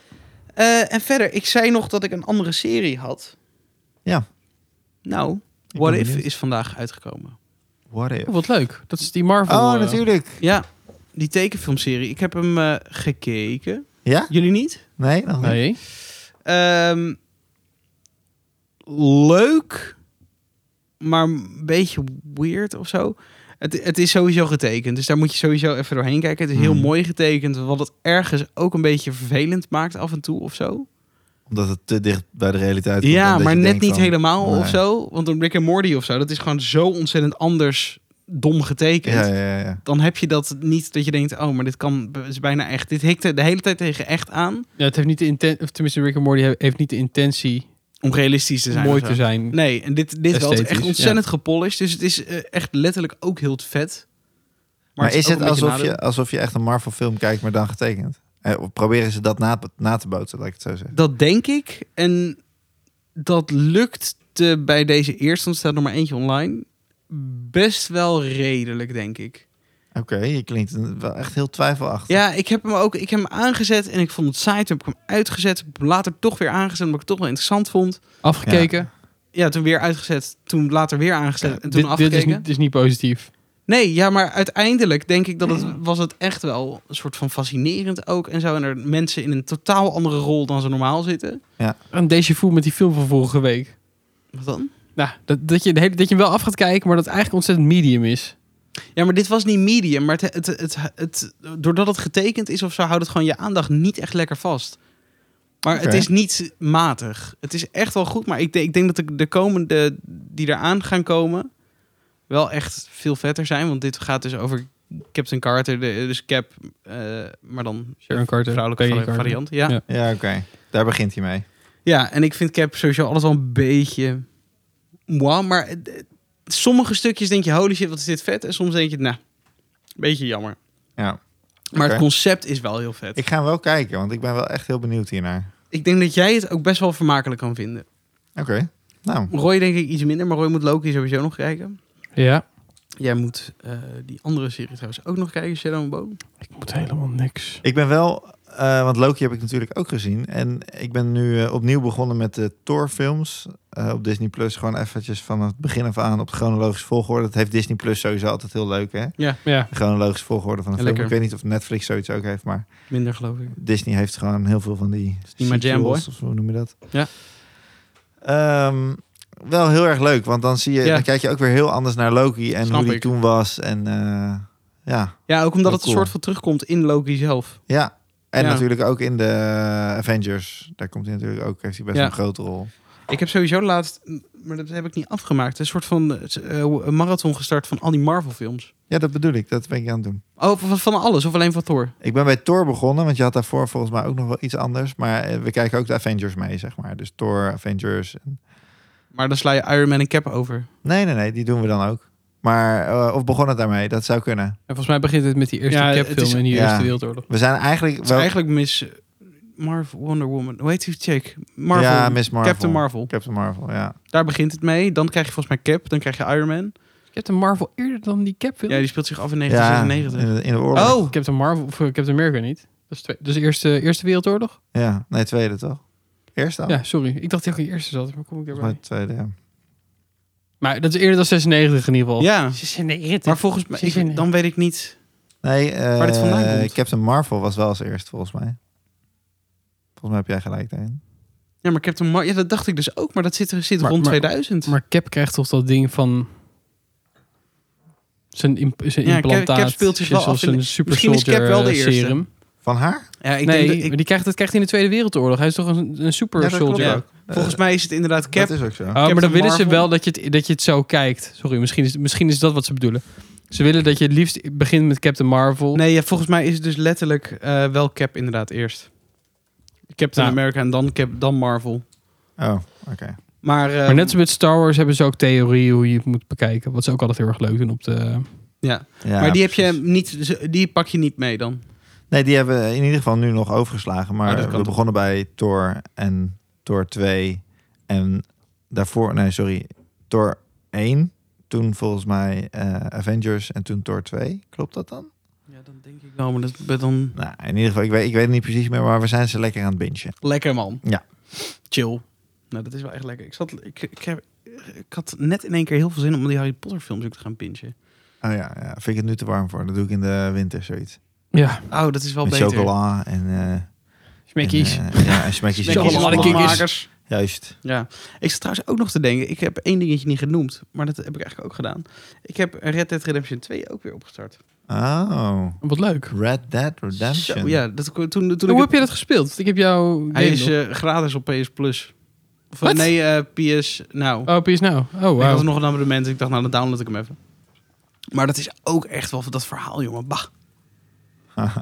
Eh, en verder, ik zei nog dat ik een andere serie had.
Ja.
Nou,
ben
What If
benieuwd.
is vandaag uitgekomen.
What if?
Oh, wat leuk. Dat is die Marvel.
Oh,
eh,
natuurlijk.
Ja, die tekenfilmserie. Ik heb hem eh, gekeken.
Ja?
Jullie niet?
Nee, nog niet.
Nee.
Ehm, leuk, maar een beetje weird of zo. Het, het is sowieso getekend, dus daar moet je sowieso even doorheen kijken. Het is heel
Mhm.
mooi getekend, wat het ergens ook een beetje vervelend maakt af en toe of zo.
Omdat het te dicht bij de realiteit komt.
Ja,
dat
maar
je
net
denkt
niet
van- oh,
helemaal
Nee.
of zo. Want een Rick and Morty of zo, dat is gewoon zo ontzettend anders dom getekend.
Ja, ja, ja, ja.
Dan heb je dat niet dat je denkt, oh, maar dit kan b- is bijna echt. Dit hikte de hele tijd tegen echt aan.
Ja, het heeft niet de intentie, of tenminste Rick and Morty he- heeft niet de intentie
Om realistisch te
om
zijn.
mooi
of zo.
te zijn.
Nee, en dit, dit wel. Het is echt
Esthetisch,
ontzettend gepolished. Dus het is eh, echt letterlijk ook heel vet.
Maar, is
ook
het
een beetje
alsof
nadeel.
je, alsof je echt een Marvel film kijkt, maar dan getekend? Eh, of proberen ze dat na, na te bootsen, laat ik het zo zeggen.
Dat denk ik. En dat lukt eh, bij deze eerste, want er staat nog maar eentje online. Best wel redelijk, denk ik.
Oké, je klinkt een- wel echt heel twijfelachtig.
Ja, ik heb hem ook ik heb hem aangezet en ik vond het saai. Toen heb ik hem uitgezet. Heb ik hem Later toch weer aangezet, omdat ik het toch wel interessant vond.
Afgekeken.
Ja, toen weer uitgezet. Toen later weer aangezet en toen
dit, dit
afgekeken.
is niet, dit is niet positief.
Nee, ja, maar uiteindelijk denk ik dat het was het echt wel een soort van fascinerend ook. En zo en er mensen in een totaal andere rol dan ze normaal zitten.
En deze voel met die film van vorige week.
Wat dan?
Nou, dat, dat, je, de hele- dat je hem wel af gaat kijken, maar dat het eigenlijk ontzettend medium is.
Ja, maar dit was niet medium. Maar het, het, het, het, doordat het getekend is of zo, houdt het gewoon je aandacht niet echt lekker vast. Maar het
Oké.
is niet matig. Het is echt wel goed. Maar ik, denk- ik denk dat de, de komende die eraan gaan komen wel echt veel vetter zijn. Want dit gaat dus over Captain Carter. De, dus Cap, eh, maar dan
Sharon Carter.
vrouwelijke
Peggy
vari-
Carter.
variant. Ja.
Ja.
Ja.
Ja, oké. Daar begint hij mee.
en ik vind Cap sowieso alles wel een beetje... Moi, maar eh, eh, sommige stukjes denk je, holy shit, wat is dit vet. En soms denk je, nou, Beetje jammer.
Ja.
Maar
Oké.
het concept is wel heel vet. Ik,
Ik ga hem wel kijken, want ik ben wel echt heel benieuwd hiernaar.
denk dat jij het ook best wel vermakelijk kan vinden.
Oké. Nou,
Roy denk ik iets minder, maar Roy moet Loki sowieso nog kijken.
Ja.
Jij moet eh, die andere serie trouwens ook nog kijken, Shadow and Bone.
Ik moet helemaal niks.
ik ben wel... eh, want Loki heb ik natuurlijk ook gezien. En ik ben nu eh, opnieuw begonnen met de Thor-films eh, op Disney+. Plus. Gewoon eventjes van het begin af aan op de chronologische volgorde. Dat heeft Disney Plus sowieso altijd heel leuk, hè?
Ja.
De chronologische volgorde van een
Ja,
film.
lekker.
Ik weet niet of Netflix zoiets ook heeft, maar...
Minder geloof ik.
Disney heeft gewoon heel veel van die
niet mijn jam,
sequels, of hoe noem je dat?
Ja.
Ehm, wel heel erg leuk, want dan zie je,
Ja.
dan kijk je ook weer heel anders naar Loki en
Snap
hoe die
ik.
toen was en eh, ja,
Ja, ook omdat het
Wel
een
cool.
soort van terugkomt in Loki zelf.
ja. En
Ja.
natuurlijk ook in de Avengers, daar komt hij natuurlijk ook, heeft hij best
Ja.
een grote rol.
Ik heb sowieso laatst, maar dat heb ik niet afgemaakt, een soort van eh, een marathon gestart van al die Marvel films.
Ja, dat bedoel ik, dat ben ik aan het doen.
Oh, van, van alles of alleen van Thor?
Ik ben bij Thor begonnen, want je had daarvoor volgens mij ook nog wel iets anders, maar eh, we kijken ook de Avengers mee, zeg maar. Dus Thor, Avengers. en-
Maar dan sla je Iron Man en Cap over.
Nee, nee, nee, die doen we dan ook. Maar, eh, of begon het daarmee, dat zou kunnen.
En volgens mij begint het met die eerste
Ja, het
Cap-film
is-
in die
ja.
Eerste Wereldoorlog.
We zijn eigenlijk
Het is
wel-
eigenlijk Miss Marvel, Wonder Woman. Hoe heet die chick? Marvel.
Ja, Miss Marvel.
Captain Marvel.
Captain Marvel, ja.
Daar begint het mee. Dan krijg je volgens mij Cap. Dan krijg je Iron Man.
Captain Marvel eerder dan die Cap-film?
Ja, die speelt zich af in
Ja, in,
1996.
de- in de oorlog.
Oh,
Captain Marvel of eh, Captain America niet. Dat is twee. Dus eerste, eerste Wereldoorlog?
Ja, nee, tweede toch? Eerste al?
Ja, sorry. Ik dacht dat ik in eerste zat, maar kom ik
Volgens mij
daarbij.
tweede, ja.
Maar dat is eerder dan 96 in ieder geval.
Ja.
Ze zijn de irrit.
Maar volgens mij,
Zin in.
ik- dan weet ik niet.
Nee, eh,
Waar dit vandaan komt.
Captain Marvel was wel als eerste, volgens mij. Volgens mij heb jij gelijk daarin.
Ja, maar Captain Marvel, ja, dat dacht ik dus ook. Maar dat zit, er- zit
Maar-
rond
maar-
2000.
Maar Cap krijgt toch dat ding van... Zijn, imp zijn
Ja, Cap-
implantaat.
Cap speelt zich wel
zoals
af in de-
een super
Misschien is
soldier,
Cap wel de
eh,
eerste.
serum.
Van haar?
ja, ik
nee,
denk dat ik-
maar die krijgt, dat krijgt hij in de Tweede Wereldoorlog. Hij is toch een, een super
Ja, dat klopt,
soldier.
ja.
Oh,
volgens mij is het inderdaad Cap. Oh.
Dat is ook zo.
maar dan
Captain
willen ze
Marvel.
wel dat je, het, dat je het zo kijkt. Sorry, misschien is, misschien is dat wat ze bedoelen. Ze willen dat je het liefst begint met Captain Marvel.
Nee, ja, volgens mij is het dus letterlijk eh, wel Cap inderdaad eerst. Captain
Nou.
America en dan Cap, dan Marvel.
Oh, oké.
Maar, eh,
Maar net als met Star Wars hebben ze ook theorieën hoe je het moet bekijken. Wat ze ook altijd heel erg leuk doen op de...
ja.
Ja,
maar die, heb je
precies.
niet, dus, die pak je niet mee dan.
Nee, die hebben we in ieder geval nu nog overgeslagen.
Oh,
Maar
dat
we
kan toch.
begonnen bij Thor en Thor 2. En daarvoor, nee, sorry, Thor 1. Toen volgens mij eh, Avengers en toen Thor 2. Klopt dat dan?
Ja, dan denk ik wel, maar dat ben dan
Nou, in ieder geval, ik weet, ik weet het niet precies meer, maar we zijn ze lekker aan het bingen.
lekker man.
Ja.
Chill. Nou, dat is wel echt lekker. Ik, zat, ik, ik, heb- ik had net in één keer heel veel zin om die Harry Potter films ook te gaan pinchen.
Oh ja, ja, vind ik het nu te warm voor. Dat doe ik in de winter, zoiets.
Ja,
Oh, dat is wel
Met
beter.
chocola en... eh,
smekkies.
en, eh, ja, en smekkies.
Smackjes,
Chocoladekikkers.
smaakmakers.
Juist.
Ja, ik zat trouwens ook nog te denken. Ik heb één dingetje niet genoemd, maar dat heb ik eigenlijk ook gedaan. Ik heb Red Dead Redemption 2 ook weer opgestart.
Oh,
Wat leuk.
Red Dead Redemption.
Zo, ja, dat, toen, eh, toen ik
Hoe
het-
heb je dat gespeeld? Want Ik heb jou...
Hij is eh, gratis op PS Plus. Of, eh,
Wat?
nee, eh, PS Nou.
Oh, PS Now.
Ik
Oh,
had
wow.
nog een abonnement. Ik dacht, nou, dan download ik hem even. Maar dat is ook echt wel dat verhaal, jongen. Bah.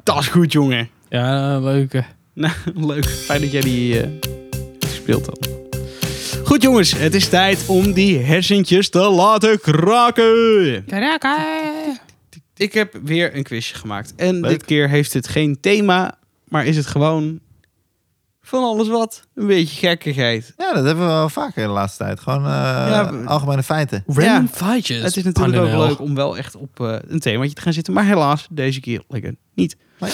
Dat is goed, jongen.
Ja, leuk. eh.
Nou, leuk. Fijn dat jij die eh, speelt dan. Goed, jongens. Het is tijd om die hersentjes te laten kraken. Ik heb weer een quizje gemaakt. En
Leuk.
dit keer heeft het geen thema, maar is het gewoon van alles wat. Een beetje gekkigheid.
Ja, dat hebben we wel vaker de laatste tijd. Gewoon eh,
Ja,
algemene feiten.
Random feitjes.
Het is natuurlijk
Panel.
ook leuk om wel echt op eh, een themaatje te gaan zitten. Maar helaas, deze keer lekker niet.
Nee.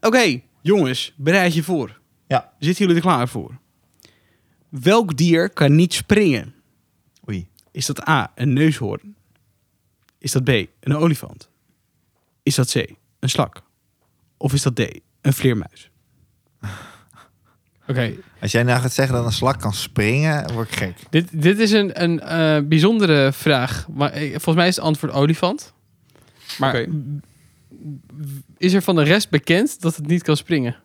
Oké, jongens, bereid je voor.
Ja.
Zitten jullie er klaar voor? Welk dier kan niet springen?
Oei.
Is dat A, een neushoorn? Is dat B, een olifant? Is dat C, een slak? Of is dat D, een vleermuis?
Oké,
Als jij nou gaat zeggen dat een slak kan springen, word ik gek.
dit, dit is een, een eh, bijzondere vraag. Maar, eh, volgens mij is het antwoord olifant. Maar
Oké.
is er van de rest bekend dat het niet kan springen?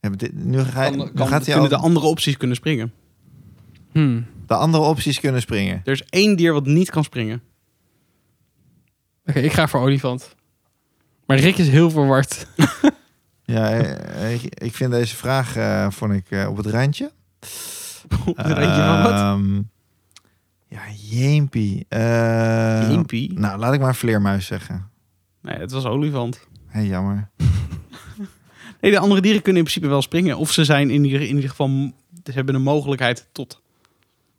Ja, maar dit- nu ga je,
Kan-
nu
kan-
gaat hij
kunnen
al
de
de,
andere opties kunnen springen?
Hmm.
andere opties kunnen springen.
Er is één dier wat niet kan springen.
Oké, ik ga voor olifant. Maar Rick is heel verward.
Ja, eh, ik, ik vind deze vraag eh, vond ik, eh, op het randje.
Op het randje van wat?
Ehm, ja, jeempie. Eh,
Jeempie?
Nou, laat ik maar vleermuis zeggen.
Nee, het was olifant.
Hé, jammer.
Nee, de andere dieren kunnen in principe wel springen. Of ze zijn in ieder, in ieder geval... m- Ze hebben een mogelijkheid tot.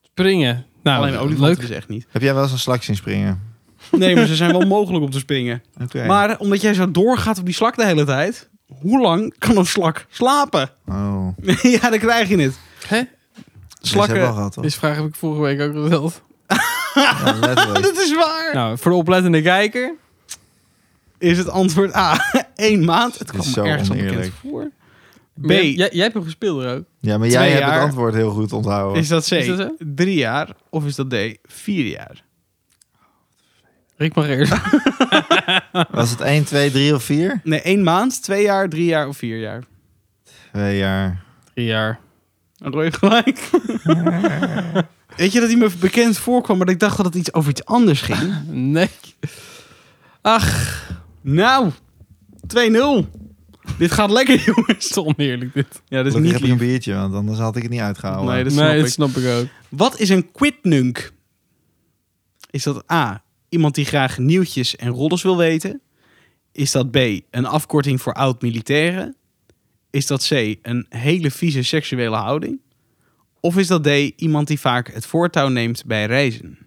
Springen. Nou,
Alleen olifanten
leuk.
dus echt niet.
Heb jij wel eens een slak zien springen? Oh.
Nee, maar ze zijn wel mogelijk om te springen.
Oké.
Maar omdat jij zo doorgaat op die slak de hele tijd... Hoe lang kan een slak slapen?
Oh.
ja, dan krijg je het.
Hè?
Slakken. Wel
Slakken...
gehad, toch?
Deze vraag heb ik vorige week ook gesteld.
Ja, letterlijk.
Dat is waar.
Nou, voor de oplettende kijker.
Is het antwoord A, één maand? Het
Dit
kwam
is
me
zo
ergens onbekend
oneerlijk.
voor. B,
Maar jij- Jij, jij hebt hem gespeeld er ook.
Ja, maar
Twee
jij hebt
jaar.
het antwoord heel goed onthouden.
is dat C,
Is dat zo?
drie jaar? Of is dat D, vier jaar?
Rick mag eerst.
Was het 1, 2, 3 of 4?
Nee, één maand, twee jaar, drie jaar of vier jaar?
Twee jaar.
Drie jaar.
Een rode gelijk. Weet je dat hij me bekend voorkwam, maar dat ik dacht dat het iets over iets anders ging?
Nee. Ach,
Nou, 2-0. Dit gaat lekker, jongen.
is toch oneerlijk dit.
Ja, dat is
Gelukkig
Dus niet
heb ik
lief.
een biertje, want anders had ik het niet uitgehouden.
Nee, dat snap
nee, dus-
ik.
dat snap ik ook.
Wat is een quitnunk? Is dat A, iemand die graag nieuwtjes en roddels wil weten? Is dat B, een afkorting voor oud-militairen? Is dat C, een hele vieze seksuele houding? Of is dat D, iemand die vaak het voortouw neemt bij reizen?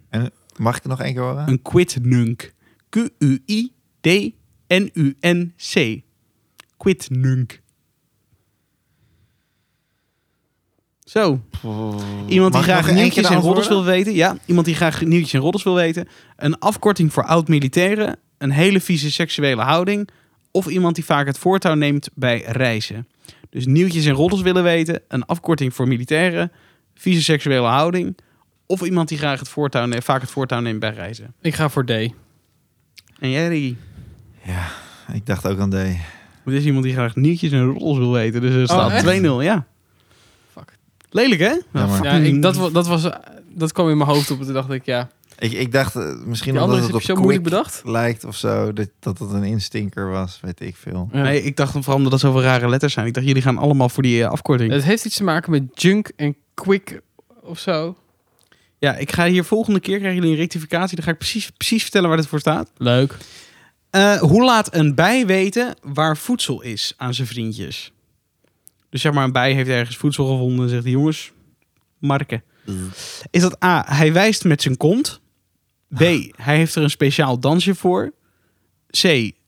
Mag ik het nog één keer horen?
Een quitnunk. Q-U-I-D-N-U-N-C. Quitnunk. Zo, Iemand die
Mag ik nog
graag
één keer
nieuwtjes
de
en roddels
antwoorden?
wil weten. Ja, iemand die graag nieuwtjes en roddels wil weten. Een afkorting voor oud-militairen. Een hele vieze seksuele houding. Of iemand die vaak het voortouw neemt bij reizen. Dus nieuwtjes en roddels willen weten. Een afkorting voor militairen. Vieze seksuele houding. Of iemand die graag het voortouw neemt, vaak het voortouw neemt bij reizen.
Ik ga voor D.
En Jerry,
Ik dacht ook aan D.
dit is iemand die graag nieuwtjes en roddels wil weten. Dus er
Oh,
staat
echt?
2-0, ja.
Fuck.
Lelijk, hè?
Jammer.
Ja, ik, dat, wa- dat, was, eh, dat kwam in mijn hoofd op en toen dacht ik, ja.
Ik, ik dacht eh, misschien
Die
omdat
andere
het
heb je
op
zo
quick
moeilijk bedacht.
lijkt of zo, dat, dat het een instinker was, weet ik veel.
Ja.
Nee, ik dacht vooral omdat dat zoveel rare letters zijn. Ik dacht, jullie gaan allemaal voor die eh, afkorting.
Het heeft iets te maken met junk en quick of zo.
Ja, ik ga hier volgende keer krijgen jullie een rectificatie. Dan ga ik precies, precies vertellen waar dit voor staat.
Leuk.
Eh, hoe laat een bij weten waar voedsel is aan zijn vriendjes? Dus zeg maar, een bij heeft ergens voedsel gevonden en zegt: hij, jongens, marken. Is dat A, hij wijst met zijn kont? B, hij heeft er een speciaal dansje voor? C,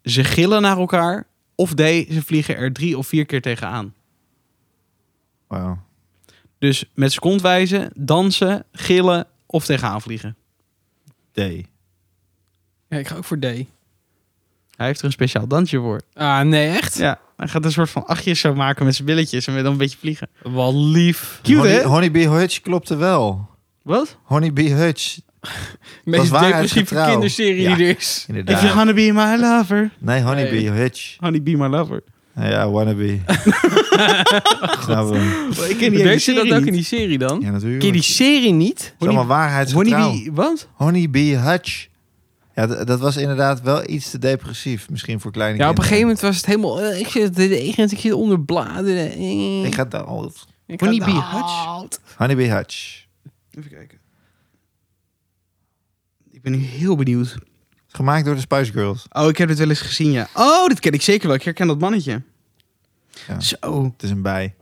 ze gillen naar elkaar? Of D, ze vliegen er drie of vier keer tegenaan?
Wauw.
Dus met zijn kont wijzen, dansen, gillen of tegenaan vliegen.
D.
Ja, ik ga ook voor D.
Hij heeft er een speciaal dansje voor.
Ah, nee, echt?
Ja, hij gaat een soort van achtjes zo maken met zijn billetjes en dan een beetje vliegen.
Wat lief.
Cute,
Honey,
hè?
Honey Bee Hutch klopte wel.
Wat?
Honey Bee Hutch,
Meest depressieve
waarheidsgetrouw.
kinderserie
Ja.
die er is.
If you
inderdaad.
wanna be my lover.
Nee, Honey
Nee.
Bee Hutch.
Honey, be my lover.
Nou Ja, wannabe. Snap hem.
Ik ken
Deed je dat ook in die serie dan?
Ja,
Ken je die
natuurlijk.
serie niet?
Het is allemaal waarheidsgetrouw.
Honey, be... Wat?
Honey Bee Hutch. Ja, d- dat was inderdaad wel iets te depressief. Misschien voor kleine
Ja, op een gegeven
kinderen.
moment was het helemaal... eh, ik zit de agent, ik zit onder bladeren. eh,
Ik ga dood.
ik
Honey
ga
Bee
dood.
Hutch.
Honey Bee Hutch.
Even kijken. Ik ben nu heel benieuwd.
Gemaakt door de Spice Girls.
Oh, ik heb dit wel eens gezien, ja. Oh, dit ken ik zeker wel. Ik herken dat mannetje.
Ja.
Zo,
Het is een bij.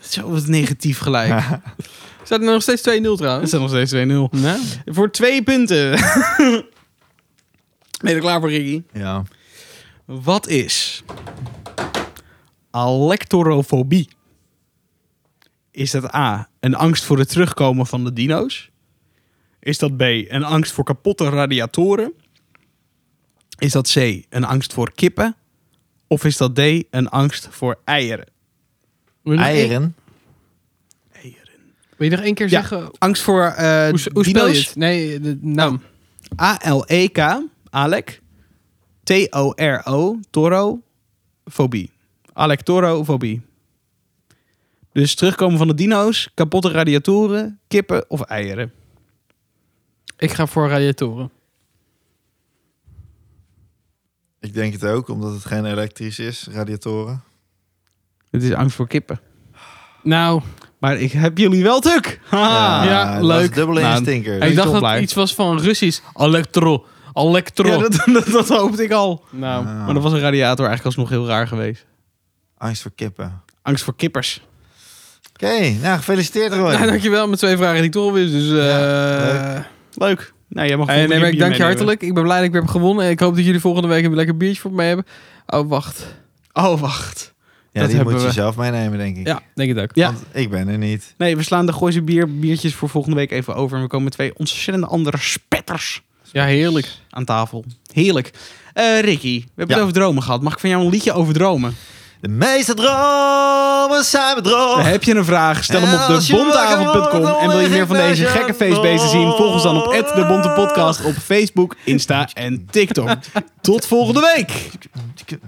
zo wat negatief gelijk.
Staat er nog steeds 2-0
Het
trouwens?
staat nog steeds 2-0.
Nou,
Voor twee punten. ben je er klaar voor, Ricky?
Ja.
Wat is alectorofobie? Is dat A, een angst voor het terugkomen van de dino's? Is dat B, een angst voor kapotte radiatoren? Is dat C, een angst voor kippen? Of is dat D, een angst voor eieren?
wil je nog één-
Eieren.
Wil je nog één keer
Ja.
zeggen
Angst voor eh
hoe, hoe spel je
dino's?
het? Nee, de naam.
E A-L-E-K, Alec. T-O-R-O, Toro, fobie. Alec Toro, fobie. Dus terugkomen van de dino's, kapotte radiatoren, kippen of eieren.
Ik ga voor radiatoren.
Ik denk het ook, omdat het geen elektrisch is, radiatoren.
Het is angst voor kippen.
Nou,
Maar ik heb jullie wel tuk. Haha.
Ah, ja,
dat was
leuk.
dubbele
Nou,
instinker.
ik
ik
toch
dacht dat
blij?
het iets was van Russisch. Elektro. Electro.
Ja, dat, dat, dat hoopte ik al.
Nou,
Maar dan was een radiator eigenlijk alsnog heel raar geweest.
Angst voor kippen.
Angst voor kippers.
Oké, nou gefeliciteerd Roy.
nou, dankjewel met twee vragen die ik toch al wist. Dus, eh,
Leuk. Nou, jij mag
eh,
volgende
nee,
keer
maar
bier
ik dank je
meenemen.
hartelijk. Ik ben blij dat ik weer heb gewonnen. En ik hoop dat jullie volgende week een lekker biertje voor me hebben. Oh, wacht.
Oh, wacht.
ja,
dat
die
hebben
moet je
we.
zelf meenemen, denk ik.
Ja, denk het ook.
Ja.
Want ik ben er niet.
Nee, we slaan de Gooise bier, biertjes voor volgende week even over. En we komen met twee ontzettend andere spetters
Ja, heerlijk.
aan tafel. Heerlijk. Eh, Ricky, we hebben
Ja.
het over dromen gehad. Mag ik van jou een liedje over dromen?
De meeste dromen zijn bedrog.
Heb je een vraag? Stel hem
En
op
Oh. als je wakker
debonteavond.com.
wordt,
En wil je meer van
dan
deze
is het
gekke feestbeesten zien?
Oh.
Volg ons dan op de Bonte Podcast op Facebook, Insta en TikTok. Tot volgende week!